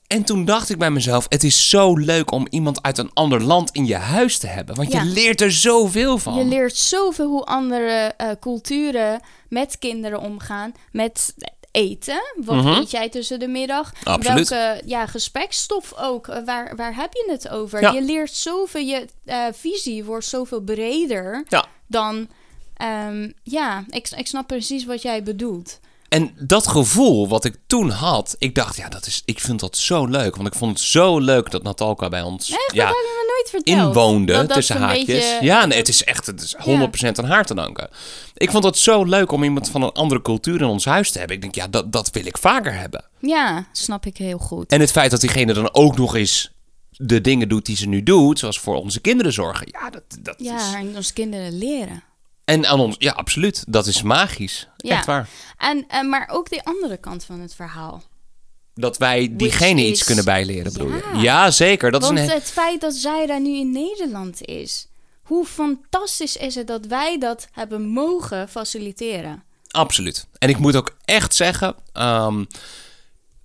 en toen dacht ik bij mezelf: het is zo leuk om iemand uit een ander land in je huis te hebben. Want Ja. je leert er zoveel van. Je leert zoveel hoe andere eh, culturen met kinderen omgaan, met eten. Wat eet jij tussen de middag? Mhm. Absoluut. Welke ja, gespreksstof ook? Eh, waar, waar heb je het over? Ja. Je leert zoveel, je eh, visie wordt zoveel breder Ja. dan... ehm, ja, ik, ik snap precies wat jij bedoelt. En dat gevoel wat ik toen had, ik dacht, ja, dat is, ik vind dat zo leuk. Want ik vond het zo leuk dat Natalka bij ons Echt, ja, dat heb je me nooit verteld. inwoonde, Dat dat tussen een haakjes. beetje- ja, nee, het is echt het is 100% aan haar te danken. Ik vond het zo leuk om iemand van een andere cultuur in ons huis te hebben. Ik denk, ja, dat, dat wil ik vaker hebben. Ja, snap ik heel goed. En het feit dat diegene dan ook nog eens de dingen doet die ze nu doet, zoals voor onze kinderen zorgen. Ja, dat, dat Ja, is. en ons kinderen leren. En aan ons, ja, absoluut. Dat is magisch. Ja. Echt waar. En, eh, maar ook de andere kant van het verhaal. Dat wij diegene is- iets kunnen bijleren, bedoel Ja. je? Ja, zeker. Dat Want is een. het feit dat Zaira nu in Nederland is, hoe fantastisch is het dat wij dat hebben mogen faciliteren? Absoluut. En ik moet ook echt zeggen, ehm,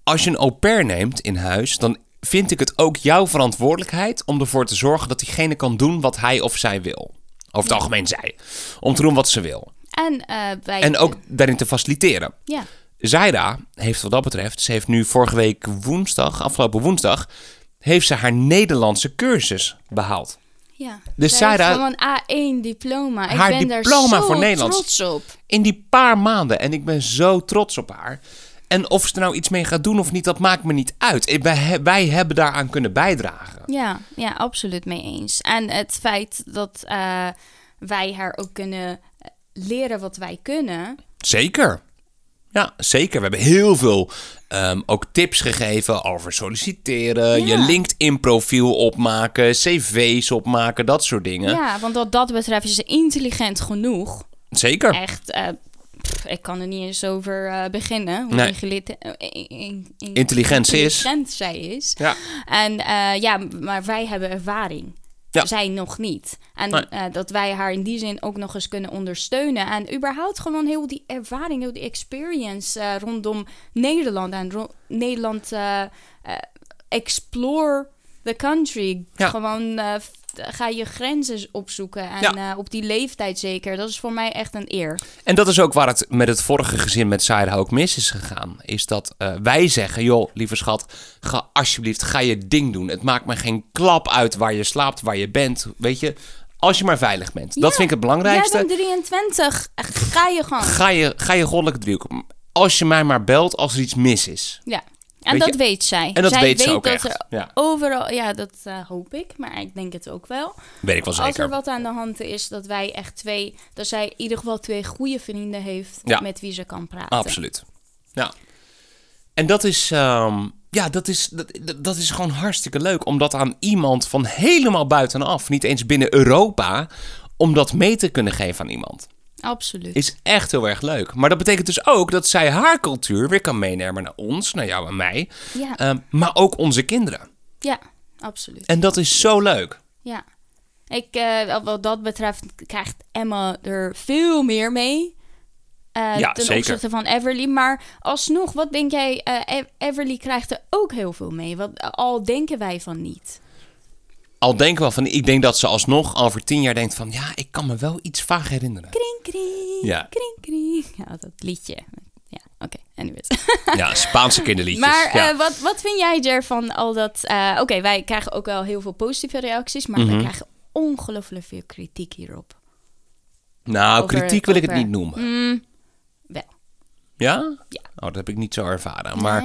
als je een au pair neemt in huis, dan vind ik het ook jouw verantwoordelijkheid om ervoor te zorgen dat diegene kan doen wat hij of zij wil. Over het algemeen zij. Om te doen wat ze wil. En, eh, wij, En ook daarin te faciliteren. Ja, Zaira heeft wat dat betreft, ze heeft nu vorige week woensdag, afgelopen woensdag, heeft ze haar Nederlandse cursus behaald. Ja. Dus zij Sarah- heeft gewoon een A1 diploma. Ik Haar ben diploma daar zo voor Nederlands. trots op. in die paar maanden. En ik ben zo trots op haar. En of ze er nou iets mee gaat doen of niet, dat maakt me niet uit. Ik- Wij, he- wij hebben daaraan kunnen bijdragen. Ja, ja, absoluut mee eens. En het feit dat eh, wij haar ook kunnen eh, leren wat wij kunnen. Zeker. Ja, zeker. We hebben heel veel ehm, ook tips gegeven over solliciteren, Ja. je LinkedIn-profiel opmaken, cv's opmaken, dat soort dingen. Ja, want wat dat betreft is ze intelligent genoeg. Zeker. Echt, eh, pff, ik kan er niet eens over eh, beginnen. Hoe Nee. ingelite- eh, in- in- in- Intelligent ze is. intelligent zij is. Ja. En eh, ja, maar wij hebben ervaring. Ja. Zij nog niet. En Nee. eh, dat wij haar in die zin ook nog eens kunnen ondersteunen. En überhaupt gewoon heel die ervaring, heel die experience eh, rondom Nederland. En ro- Nederland eh, eh, explore the country. Ja. Gewoon eh, f- ga je grenzen opzoeken. En Ja. eh, op die leeftijd zeker. Dat is voor mij echt een eer. En dat is ook waar het met het vorige gezin met Saira ook mis is gegaan. Is dat eh, wij zeggen, joh, lieve schat, ga alsjeblieft, ga je ding doen. Het maakt me geen klap uit waar je slaapt, waar je bent. Weet je, als je maar veilig bent. Dat Ja. vind ik het belangrijkste. Jij bent 23. Ga je gang. Ga je, ga je goddelijke driehoek op. Als je mij maar belt als er iets mis is. Ja. En Weet dat je- weet zij. en dat zij weet ze ook echt, er ja. overal... Ja, dat eh, hoop ik, maar ik denk het ook wel. Weet ik wel Als er zeker. wat aan de hand is, dat wij echt twee... Dat zij in ieder geval twee goede vrienden heeft Ja. met wie ze kan praten. Absoluut. Ja. En dat is, ehm, ja, dat is, dat, dat- dat is gewoon hartstikke leuk. Om dat aan iemand van helemaal buitenaf, niet eens binnen Europa, om dat mee te kunnen geven aan iemand. Absoluut. Is echt heel erg leuk. Maar dat betekent dus ook dat zij haar cultuur weer kan meenemen naar ons, naar jou en mij. Ja. Ehm, maar ook onze kinderen. Ja, absoluut. En dat is zo leuk. Ja. Ik, eh, wat dat betreft krijgt Emma er veel meer mee. eh, Ja, ten zeker. opzichte van Everly. Maar alsnog, wat denk jij? eh, Ev- Everly krijgt er ook heel veel mee. Wat, al denken wij van niet. Al denk wel van, ik denk dat ze alsnog over tien jaar denkt van, ja, ik kan me wel iets vaag herinneren. Kring, kring. Ja. Kring, kring. Ja, dat liedje. Ja, oké. Anyways. Ja, Spaanse kinderliedjes. maar ja. eh, wat, wat vind jij ervan al dat... eh, oké, wij krijgen ook wel heel veel positieve reacties. Maar Mhm. we krijgen ongelooflijk veel kritiek hierop. nou, over- kritiek wil ik het over- niet noemen. Wel. Ja? Ja. Oh, dat heb ik niet zo ervaren. Maar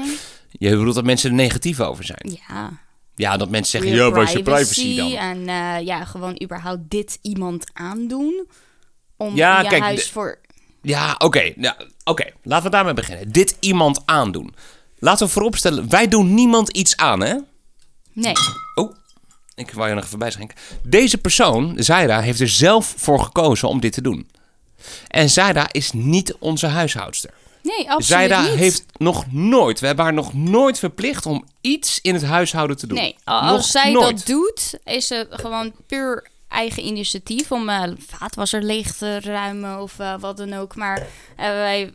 je bedoelt dat mensen er negatief over zijn. Ja. Ja, dat mensen zeggen, Weer ja, wat is je privacy dan? En eh, ja, gewoon überhaupt dit iemand aandoen. Om Ja, je kijk, huis de- voor... Ja, oké. Ja, oké. Laten we daarmee beginnen. Dit iemand aandoen. Laten we vooropstellen, wij doen niemand iets aan, hè? Nee, Oh, ik wou je nog even bijschenken. Deze persoon, Zaira, heeft er zelf voor gekozen om dit te doen. En Zaira is niet onze huishoudster. nee, absoluut Zaira niet. heeft nog nooit, we hebben haar nog nooit verplicht om iets in het huishouden te doen. Nee, als Nog zij nooit. dat doet, is het gewoon puur eigen initiatief om eh vaatwasser leeg te ruimen of eh, wat dan ook. Maar eh, wij,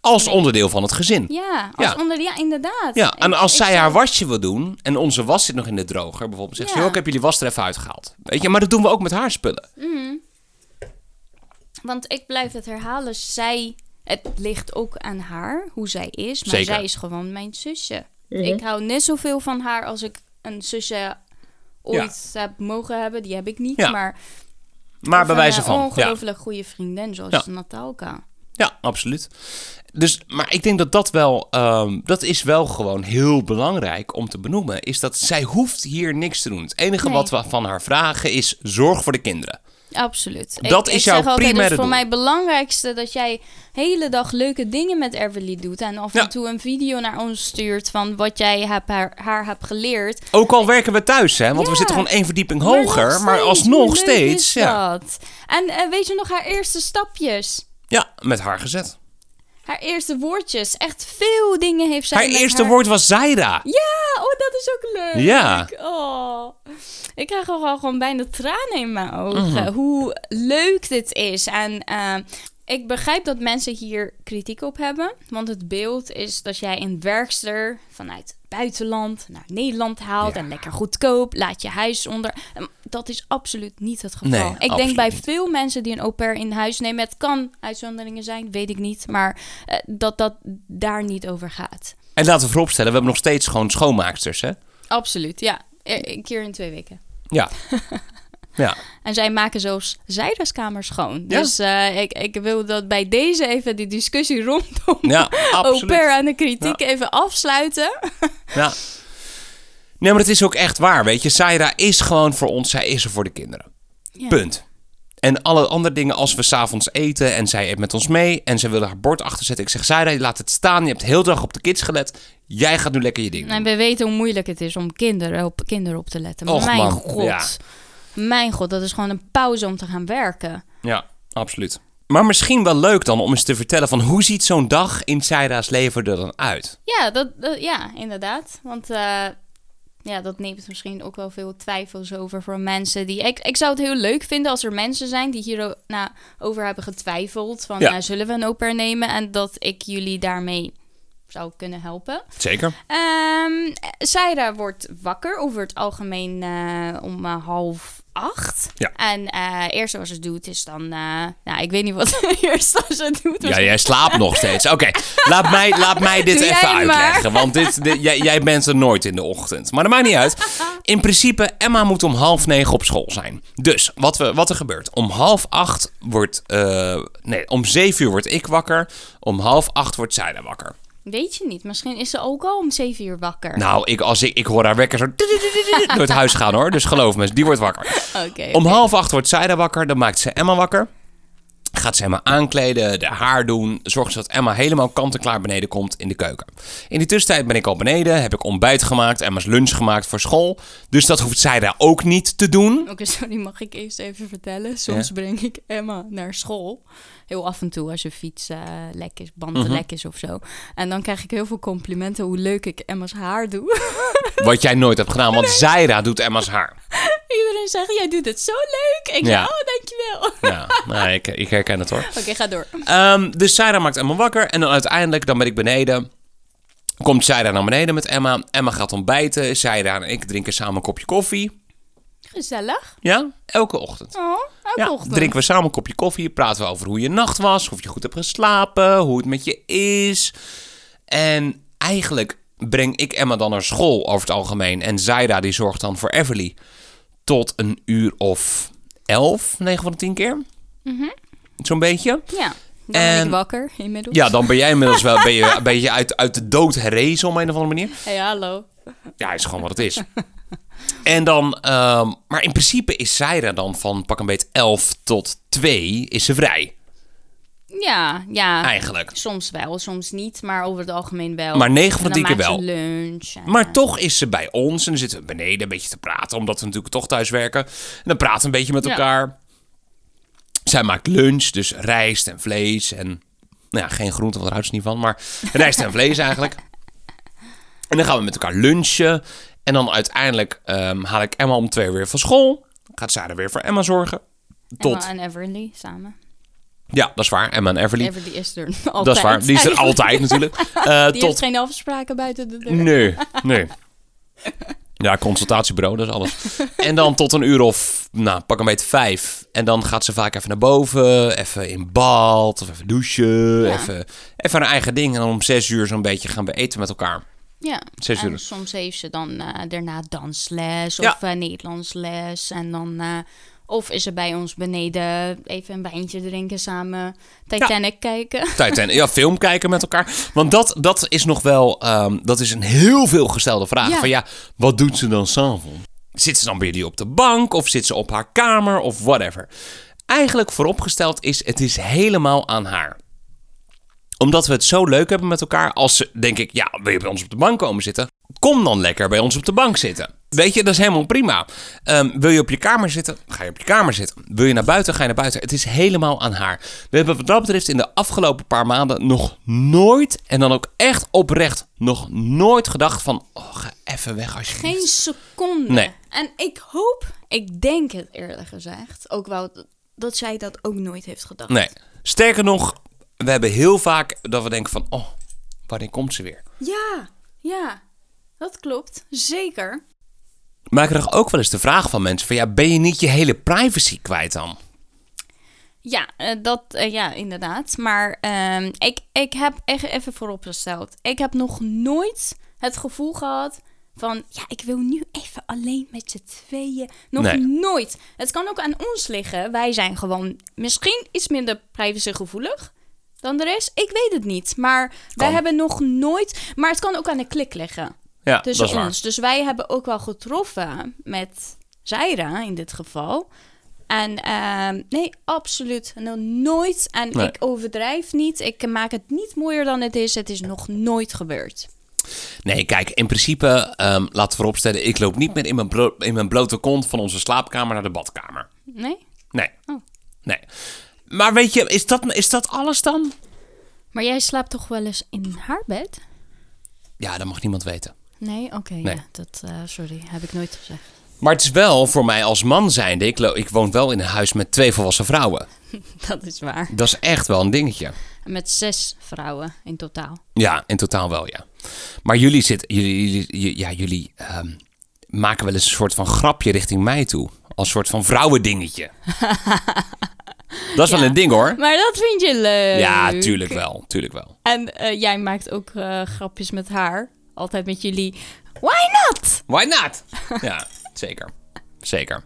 Als onderdeel van het gezin. Ja, ja, als Ja. onder, ja, inderdaad. en Ik- als ik zij zou- haar wasje wil doen en onze was zit nog in de droger, bijvoorbeeld, zegt ze: Ja. "Joh, ik heb jullie was er even uitgehaald. Weet je, maar dat doen we ook met haar spullen. Want ik blijf het herhalen, zij, het ligt ook aan haar, hoe zij is. Maar Zeker. zij is gewoon mijn zusje. Ik hou net zoveel van haar als ik een zusje ooit heb mogen hebben. Die heb ik niet, Ja. maar... Maar bij wijze een, eh, van. Ja. ongelooflijk goede vriendin, zoals Ja. Natalka. Ja, absoluut. Dus, maar ik denk dat dat wel, ehm, dat is wel gewoon heel belangrijk om te benoemen. Is dat zij hoeft hier niks te doen. Het enige Nee. wat we van haar vragen is zorg voor de kinderen. Absoluut. Dat is jouw zeg altijd, primaire Het is voor doel. mij het belangrijkste dat jij hele dag leuke dingen met Everly doet. En af en Ja. toe een video naar ons stuurt van wat jij hebt haar, haar hebt geleerd. Ook al werken we thuis, hè? Want we Ja. zitten gewoon één verdieping hoger. Maar, nog alsnog hoe leuk steeds. is Ja. dat? En eh, weet je nog haar eerste stapjes? ja, met haar gezet. Haar eerste woordjes. Echt veel dingen heeft zij Haar met eerste haar- woord was Zaira. Ja, oh, dat is ook leuk. Ja. Oh. Ik krijg ook al gewoon bijna tranen in mijn ogen. Mhm. Hoe leuk dit is. En eh, ik begrijp dat mensen hier kritiek op hebben. Want het beeld is dat jij een werkster vanuit het buitenland naar Nederland haalt. Ja. En lekker goedkoop. Laat je huis onder. Ehm, Dat is absoluut niet het geval. Nee, ik denk absoluut bij niet. veel mensen die een au pair in huis nemen. Het kan uitzonderingen zijn, weet ik niet. Maar eh, dat dat daar niet over gaat. En laten we vooropstellen, we hebben nog steeds gewoon schoonmaaksters, hè? Absoluut, ja. E- Een keer in twee weken. Ja. Ja. En zij maken zelfs zijderskamers schoon. Ja. Dus eh, ik, ik wil dat bij deze even die discussie rondom Ja, au absoluut. pair en de kritiek even afsluiten. Ja. Nee, maar het is ook echt waar, weet je. Saira is gewoon voor ons, zij is er voor de kinderen. Ja. Punt. En alle andere dingen, als we s'avonds eten en zij eet met ons mee en zij wilde haar bord achterzetten. Ik zeg, Saira, laat het staan. Je hebt heel de dag op de kids gelet. Jij gaat nu lekker je ding doen. En we weten hoe moeilijk het is om kinderen op, kinderen op te letten. Och, Mijn man. god. Ja. Mijn god, dat is gewoon een pauze om te gaan werken. Ja, absoluut. Maar misschien wel leuk dan om eens te vertellen van hoe ziet zo'n dag in Saira's leven er dan uit? Ja, dat, dat- ja inderdaad. Want eh, ja, dat neemt misschien ook wel veel twijfels over voor mensen die. Ik, ik zou het heel leuk vinden als er mensen zijn die hierover nou, over hebben getwijfeld. Van Ja. eh, zullen we een au pair nemen? En dat ik jullie daarmee zou kunnen helpen. Zeker. Ehm Saira wordt wakker over het algemeen eh, om eh, half acht. Ja. En eh, eerst wat ze doet is dan... eh, nou, ik weet niet wat eerst als ze doet. Ja, jij slaapt nog steeds. Oké, laat, mij, laat mij dit Doe jij even het maar. uitleggen. Want dit, dit- jij, jij bent er nooit in de ochtend. Maar dat maakt niet uit. In principe, Emma moet om half negen op school zijn. Dus, wat, we, wat er gebeurt. Om half acht wordt... eh, nee, om zeven uur word ik wakker. Om half acht wordt zij daar wakker. Weet je niet, misschien is ze ook al om zeven uur wakker. Nou, ik, als ik, ik hoor haar wekker zo... door het huis gaan hoor. Dus geloof me, die wordt wakker. Oké. Om half acht wordt zij daar wakker. Dan maakt ze Emma wakker. Gaat ze Emma aankleden, de haar doen. Zorgt ze dat Emma helemaal kant-en-klaar beneden komt in de keuken. In de tussentijd ben ik al beneden. Heb ik ontbijt gemaakt. Emma's lunch gemaakt voor school. Dus dat hoeft zij daar ook niet te doen. Oké, sorry, mag ik eerst even vertellen? Soms breng ik Emma naar school. Heel af en toe als je fiets eh, lek is, band Mhm. lek is of zo. En dan krijg ik heel veel complimenten hoe leuk ik Emma's haar doe. Wat jij nooit hebt gedaan, want Zaira doet Emma's haar. Iedereen zegt, jij doet het zo leuk. Ik Ja. zeg, oh, dankjewel. Oké, Ja, nou, ik, ik herken het hoor. ga door. Ehm, dus Sarah maakt Emma wakker. En dan uiteindelijk, dan ben ik beneden. Komt Sarah naar beneden met Emma. Emma gaat ontbijten. Sarah en ik drinken samen een kopje koffie. Gezellig. Ja, elke ochtend. Oh, elke Ja, ochtend. drinken we samen een kopje koffie. Praten we over hoe je nacht was. Of je goed hebt geslapen. Hoe het met je is. En eigenlijk breng ik Emma dan naar school over het algemeen. En Zaira die zorgt dan voor Everly. Tot een uur of elf, 9 van de 10 keer. Mhm. Zo'n beetje. Ja, dan ben En- ik wakker inmiddels. Ja, dan ben jij inmiddels wel ben je, een beetje uit, uit de dood herrezen op een of andere manier. Hey, hallo. Ja, is gewoon wat het is. En dan, ehm, maar in principe is zij er dan van pak een beet 11 tot 2 is ze vrij, Ja, ja. eigenlijk. Soms wel, soms niet, maar over het algemeen wel. Ah, Maar negen van En de tien dan keer maakt wel. ze lunch. en- Maar toch is ze bij ons en dan zitten we beneden een beetje te praten, omdat we natuurlijk toch thuis werken. En dan praten we een beetje met Ja. elkaar. Zij maakt lunch, dus rijst en vlees en... Nou ja, geen groente, want daar houdt ze niet van, maar rijst en vlees eigenlijk. En dan gaan we met elkaar lunchen. En dan uiteindelijk ehm, haal ik Emma om twee uur weer van school. Gaat zij er weer voor Emma zorgen. Tot, Emma en Everly samen. ja, dat is waar, Emma en Everly. Everly is er altijd. dat is waar, die is er altijd natuurlijk. Eh, Die tot Mm-hmm. heeft geen afspraken buiten de deur. Nee, nee. Ja, consultatiebureau, dat is alles. En dan tot een uur of, nou, pak een beetje vijf. En dan gaat ze vaak even naar boven, even in bad, of even douchen, even, even haar eigen ding. En dan om zes uur zo'n beetje gaan we eten met elkaar. Ja. Zes en uur. soms heeft ze dan eh, daarna dansles Ja. of eh, Nederlandsles. En dan... eh, of is ze bij ons beneden even een wijntje drinken samen. Titanic kijken. Tijd en ja, film kijken met elkaar. Want dat, dat is nog wel, ehm, dat is een heel veel gestelde vraag. Ja. Van ja, wat doet ze dan s'avonds? Zit ze dan bij jullie op de bank of zit ze op haar kamer of whatever? Eigenlijk vooropgesteld is, het is helemaal aan haar. Omdat we het zo leuk hebben met elkaar, als ze, denk ik, ja, wil je bij ons op de bank komen zitten? Kom dan lekker bij ons op de bank zitten. Weet je, dat is helemaal prima. Ehm, wil je op je kamer zitten? Ga je op je kamer zitten. Wil je naar buiten? Ga je naar buiten. Het is helemaal aan haar. We hebben wat dat betreft in de afgelopen paar maanden nog nooit, en dan ook echt oprecht, nog nooit gedacht van, oh, ga even weg alsjeblieft. Geen seconde. Nee. En ik hoop, ik denk het eerlijk gezegd, ook wel dat- dat zij dat ook nooit heeft gedacht. Nee. Sterker nog, we hebben heel vaak dat we denken van, oh, wanneer komt ze weer? Ja, ja, dat klopt. Zeker. Maar ik krijg ook wel eens de vraag van mensen van, ja, ben je niet je hele privacy kwijt dan? Ja, eh, dat, eh, ja, inderdaad. Maar ehm, ik, ik heb echt even vooropgesteld. Ik heb nog nooit het gevoel gehad Van, ja, ik wil nu even alleen met z'n tweeën. Nog Nee. nooit. Het kan ook aan ons liggen. Wij zijn gewoon misschien iets minder privacygevoelig dan de rest. Ik weet het niet. Maar wij Kan. hebben nog nooit... Maar het kan ook aan de klik liggen Ja, dat is tussen waar. ons. Dus wij hebben ook wel getroffen met Zaira in dit geval. En ehm, nee, absoluut nog nooit. En Nee. ik overdrijf niet. Ik maak het niet mooier dan het is. Het is nog nooit gebeurd. Nee, kijk, in principe, ehm, laten we vooropstellen, ik loop niet meer in mijn, blo- in mijn blote kont van onze slaapkamer naar de badkamer. Nee? Nee. Oh. Nee. Maar weet je, is dat, is dat alles dan? Maar jij slaapt toch wel eens in haar bed? Ja, dat mag niemand weten. Nee? Oké, Nee. ja, dat, eh, sorry, heb ik nooit gezegd. Maar het is wel voor mij als man zijnde, ik, lo- ik woon wel in een huis met twee volwassen vrouwen. Dat is waar. Dat is echt wel een dingetje. Met zes vrouwen in totaal. Ja, in totaal wel, ja. Maar jullie, zit, jullie, jullie- j- ja, jullie ehm, maken wel eens een soort van grapje richting mij toe. Als soort van vrouwendingetje. dat is wel Ja. een ding hoor. Maar dat vind je leuk. Ja, tuurlijk wel. Tuurlijk wel. En eh, jij maakt ook eh, grapjes met haar. Altijd met jullie. Why not? Why not? Ja, zeker. Zeker.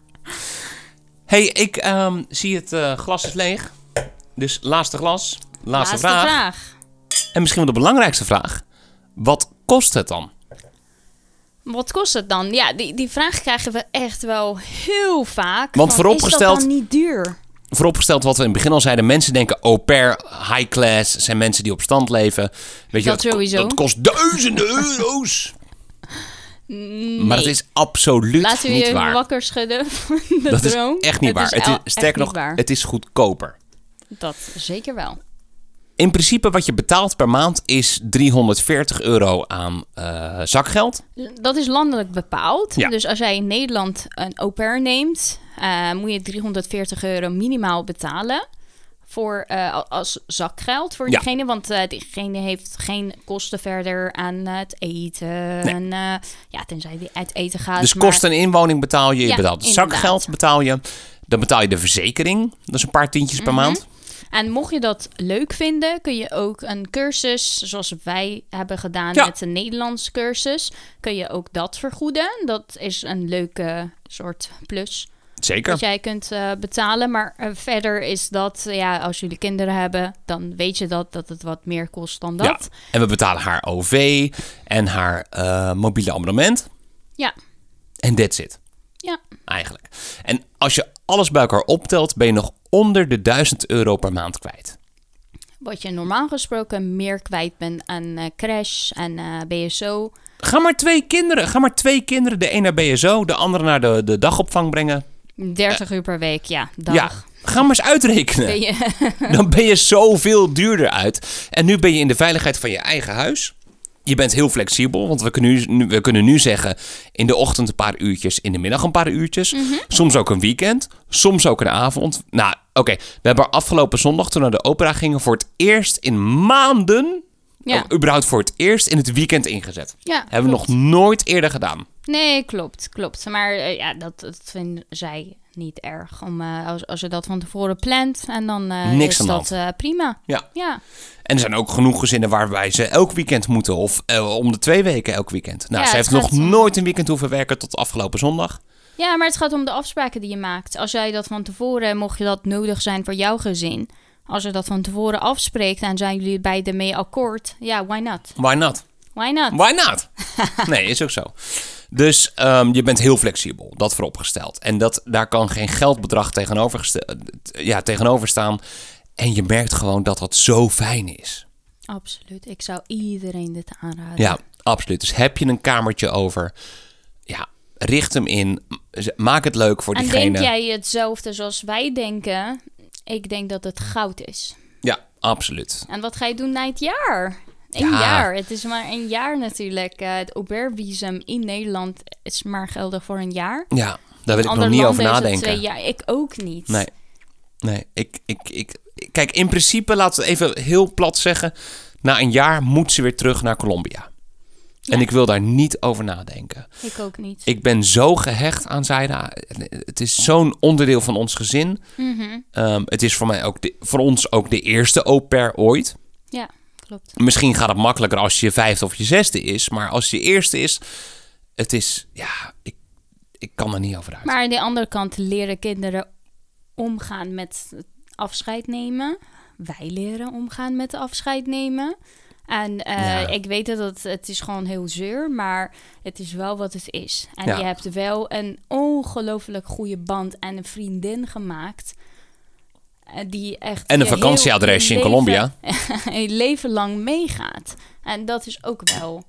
hey, ik ehm, zie het eh, glas is leeg. Dus laatste glas. Laatste, vraag. En misschien wel de belangrijkste vraag. Wat kost het dan? Wat kost het dan? Ja, die, die vraag krijgen we echt wel heel vaak. Want Van, vooropgesteld- Is dat dan niet duur? vooropgesteld wat we in het begin al zeiden. Mensen denken au pair, high class, zijn mensen die op stand leven. Weet je, Dat ko- sowieso. Dat kost duizenden euro's. Nee. Maar dat is absoluut Laten we niet je waar. wakker schudden van de dat is droom. echt niet Het waar. is het el- is, echt sterker niet nog, waar. het is goedkoper. Dat zeker wel. In principe wat je betaalt per maand is 340 euro aan eh, zakgeld. Dat is landelijk bepaald. Ja. Dus als jij in Nederland een au pair neemt, eh, moet je 340 euro minimaal betalen. Voor, eh, a- als zakgeld voor Ja. diegene. Want eh, diegene heeft geen kosten verder aan het eten. En, eh, ja, tenzij die uit eten gaat. dus maar- kosten en inwoning betaal je. Je Ja, betaalt het inderdaad. zakgeld betaal je. Dan betaal je de verzekering. Dat is een paar tientjes Mhm. per maand. En mocht je dat leuk vinden, kun je ook een cursus, zoals wij hebben gedaan Ja. met de Nederlands cursus, kun je ook dat vergoeden. Dat is een leuke soort plus. Zeker. dat jij kunt eh, betalen. Maar eh, verder is dat, eh, ja, als jullie kinderen hebben, dan weet je dat, dat het wat meer kost dan dat. Ja. En we betalen haar OV en haar eh, mobiele abonnement. Ja, En that's it, ja. eigenlijk. En als je alles bij elkaar optelt, ben je nog onder de 1000 euro per maand kwijt. Wat je normaal gesproken meer kwijt bent aan eh, crash en eh, BSO. Ga maar twee kinderen, ga maar twee kinderen, de een naar BSO, de andere naar de, de dagopvang brengen. 30 uur per week, ja, dag. Ja, ga maar eens uitrekenen. Ben je- Dan ben je zoveel duurder uit. En nu ben je in de veiligheid van je eigen huis. Je bent heel flexibel, want we kunnen nu, nu- we kunnen nu zeggen... in de ochtend een paar uurtjes, in de middag een paar uurtjes. Mhm. Soms ook een weekend, soms ook een avond. Nou, oké. We hebben afgelopen zondag, toen we naar de opera gingen... voor het eerst in maanden... Ja. of überhaupt voor het eerst in het weekend ingezet. Ja, Hebben klopt. we nog nooit eerder gedaan. Nee, klopt, klopt. Maar eh, ja, dat, dat vinden zij niet erg. Om, eh, als, als je dat van tevoren plant en dan eh, Niks is aan de dat eh, prima. Ja. Ja, En er zijn ook genoeg gezinnen waarbij ze elk weekend moeten. Of eh, om de twee weken elk weekend. Nou, Ja, ze het heeft nog gaat- nooit een weekend hoeven werken tot afgelopen zondag. Ja, maar het gaat om de afspraken die je maakt. Als jij dat van tevoren, mocht je dat nodig zijn voor jouw gezin, als je dat van tevoren afspreekt en zijn jullie beiden mee akkoord, ja, why not? Why not? Why not? Why not? Nee, is ook zo. Dus ehm, je bent heel flexibel, dat vooropgesteld. En dat, daar kan geen geldbedrag tegenover, ja, tegenover staan. En je merkt gewoon dat dat zo fijn is. Absoluut. Ik zou iedereen dit aanraden. Ja, absoluut. Dus heb je een kamertje over, ja, richt hem in. Maak het leuk voor En diegene. denk jij hetzelfde zoals wij denken? Ik denk dat het goud is. Ja, absoluut. En wat ga je doen na het jaar? Een Ja. jaar. Het is maar een jaar natuurlijk. Eh, het Uber-visum in Nederland is maar geldig voor een jaar. Ja, daar wil ik nog Ander niet land over is het nadenken. Twee jaar. Ik ook niet. Nee. Nee, ik, ik, ik. Kijk, in principe, laten we het even heel plat zeggen. Na een jaar moet ze weer terug naar Colombia. En ik wil daar niet over nadenken. Ik ook niet. Ik ben zo gehecht aan Zaida. Het is zo'n onderdeel van ons gezin. Mhm. Ehm, het is voor, mij ook de, voor ons ook de eerste au pair ooit. Ja, klopt. Misschien gaat het makkelijker als je je vijfde of je zesde is. Maar als je eerste is, het is, ja, ik, ik kan er niet over uit. Maar aan de andere kant leren kinderen omgaan met het afscheid nemen. Wij leren omgaan met de afscheid nemen. En eh, Ja. ik weet dat het, het is gewoon heel zeur, maar het is wel wat het is. En Ja. je hebt wel een ongelooflijk goede band en een vriendin gemaakt. eh, Die echt En een je heel vakantieadresje in leven- Colombia. Je leven lang meegaat. En dat is ook wel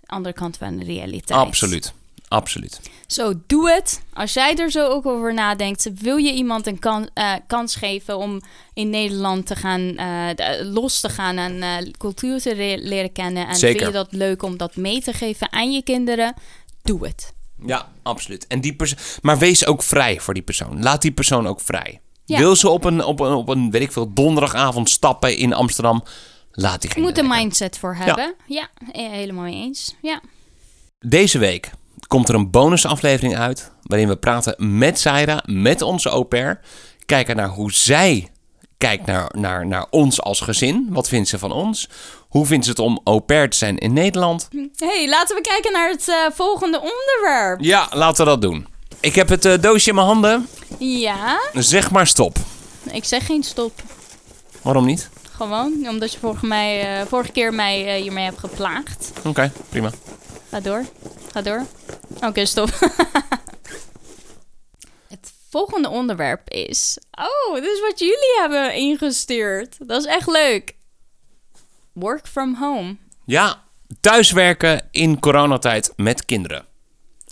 de andere kant van de realiteit. Absoluut. Absoluut. Zo, doe het. Als jij er zo ook over nadenkt, wil je iemand een kan- eh, kans geven om in Nederland te gaan, eh, de- los te gaan en eh, cultuur te re- leren kennen. En Zeker. vind je dat leuk om dat mee te geven aan je kinderen? Doe het. Ja, absoluut. En die pers- maar wees ook vrij voor die persoon. Laat die persoon ook vrij. Ja. Wil ze op een, op, een, op een, weet ik veel, donderdagavond stappen in Amsterdam? Laat die Je moet een lekker. mindset voor hebben. Ja, eh, helemaal mee eens. Ja. Deze week komt er een bonusaflevering uit. Waarin we praten met Zaira, met onze au pair. Kijken naar hoe zij kijkt naar, naar, naar ons als gezin. Wat vindt ze van ons? Hoe vindt ze het om au pair te zijn in Nederland? hey, laten we kijken naar het eh, volgende onderwerp. Ja, laten we dat doen. Ik heb het eh, doosje in mijn handen. Ja, Zeg maar stop. ik zeg geen stop. Waarom niet? Gewoon, omdat je vorige, mij, eh, vorige keer mij eh, hiermee hebt geplaagd. Oké, prima. Ga door. Ga door. Oké, stop. Het volgende onderwerp is. Oh, dit is wat jullie hebben ingestuurd. Dat is echt leuk. Work from home. Ja, thuiswerken in coronatijd met kinderen.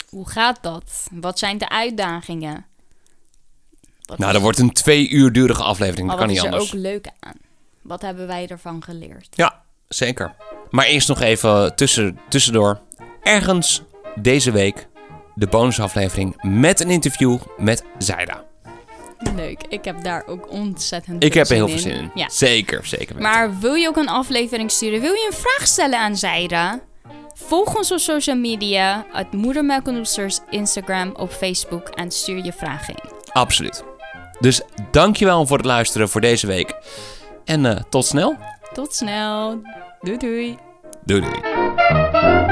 Hoe gaat dat? Wat zijn de uitdagingen? Wat Nou, is- dat wordt een twee uur durige aflevering. maar Dat Oh, wat kan niet is er anders. ook leuk aan? Wat hebben wij ervan geleerd? Ja, zeker. Maar eerst nog even tussen, tussendoor. Ergens deze week de bonusaflevering met een interview met Zaida. Leuk. Ik heb daar ook ontzettend Ik veel heb er zin heel in. veel zin in. Ja. Zeker, zeker weten. Maar wil je ook een aflevering sturen? Wil je een vraag stellen aan Zaira? Volg ons op social media, het Moedermelk en Oesters, Instagram, op Facebook en stuur je vragen in. Absoluut. Dus dankjewel voor het luisteren voor deze week. En eh, tot snel. Tot snel. Doei doei. Doei doei. Thank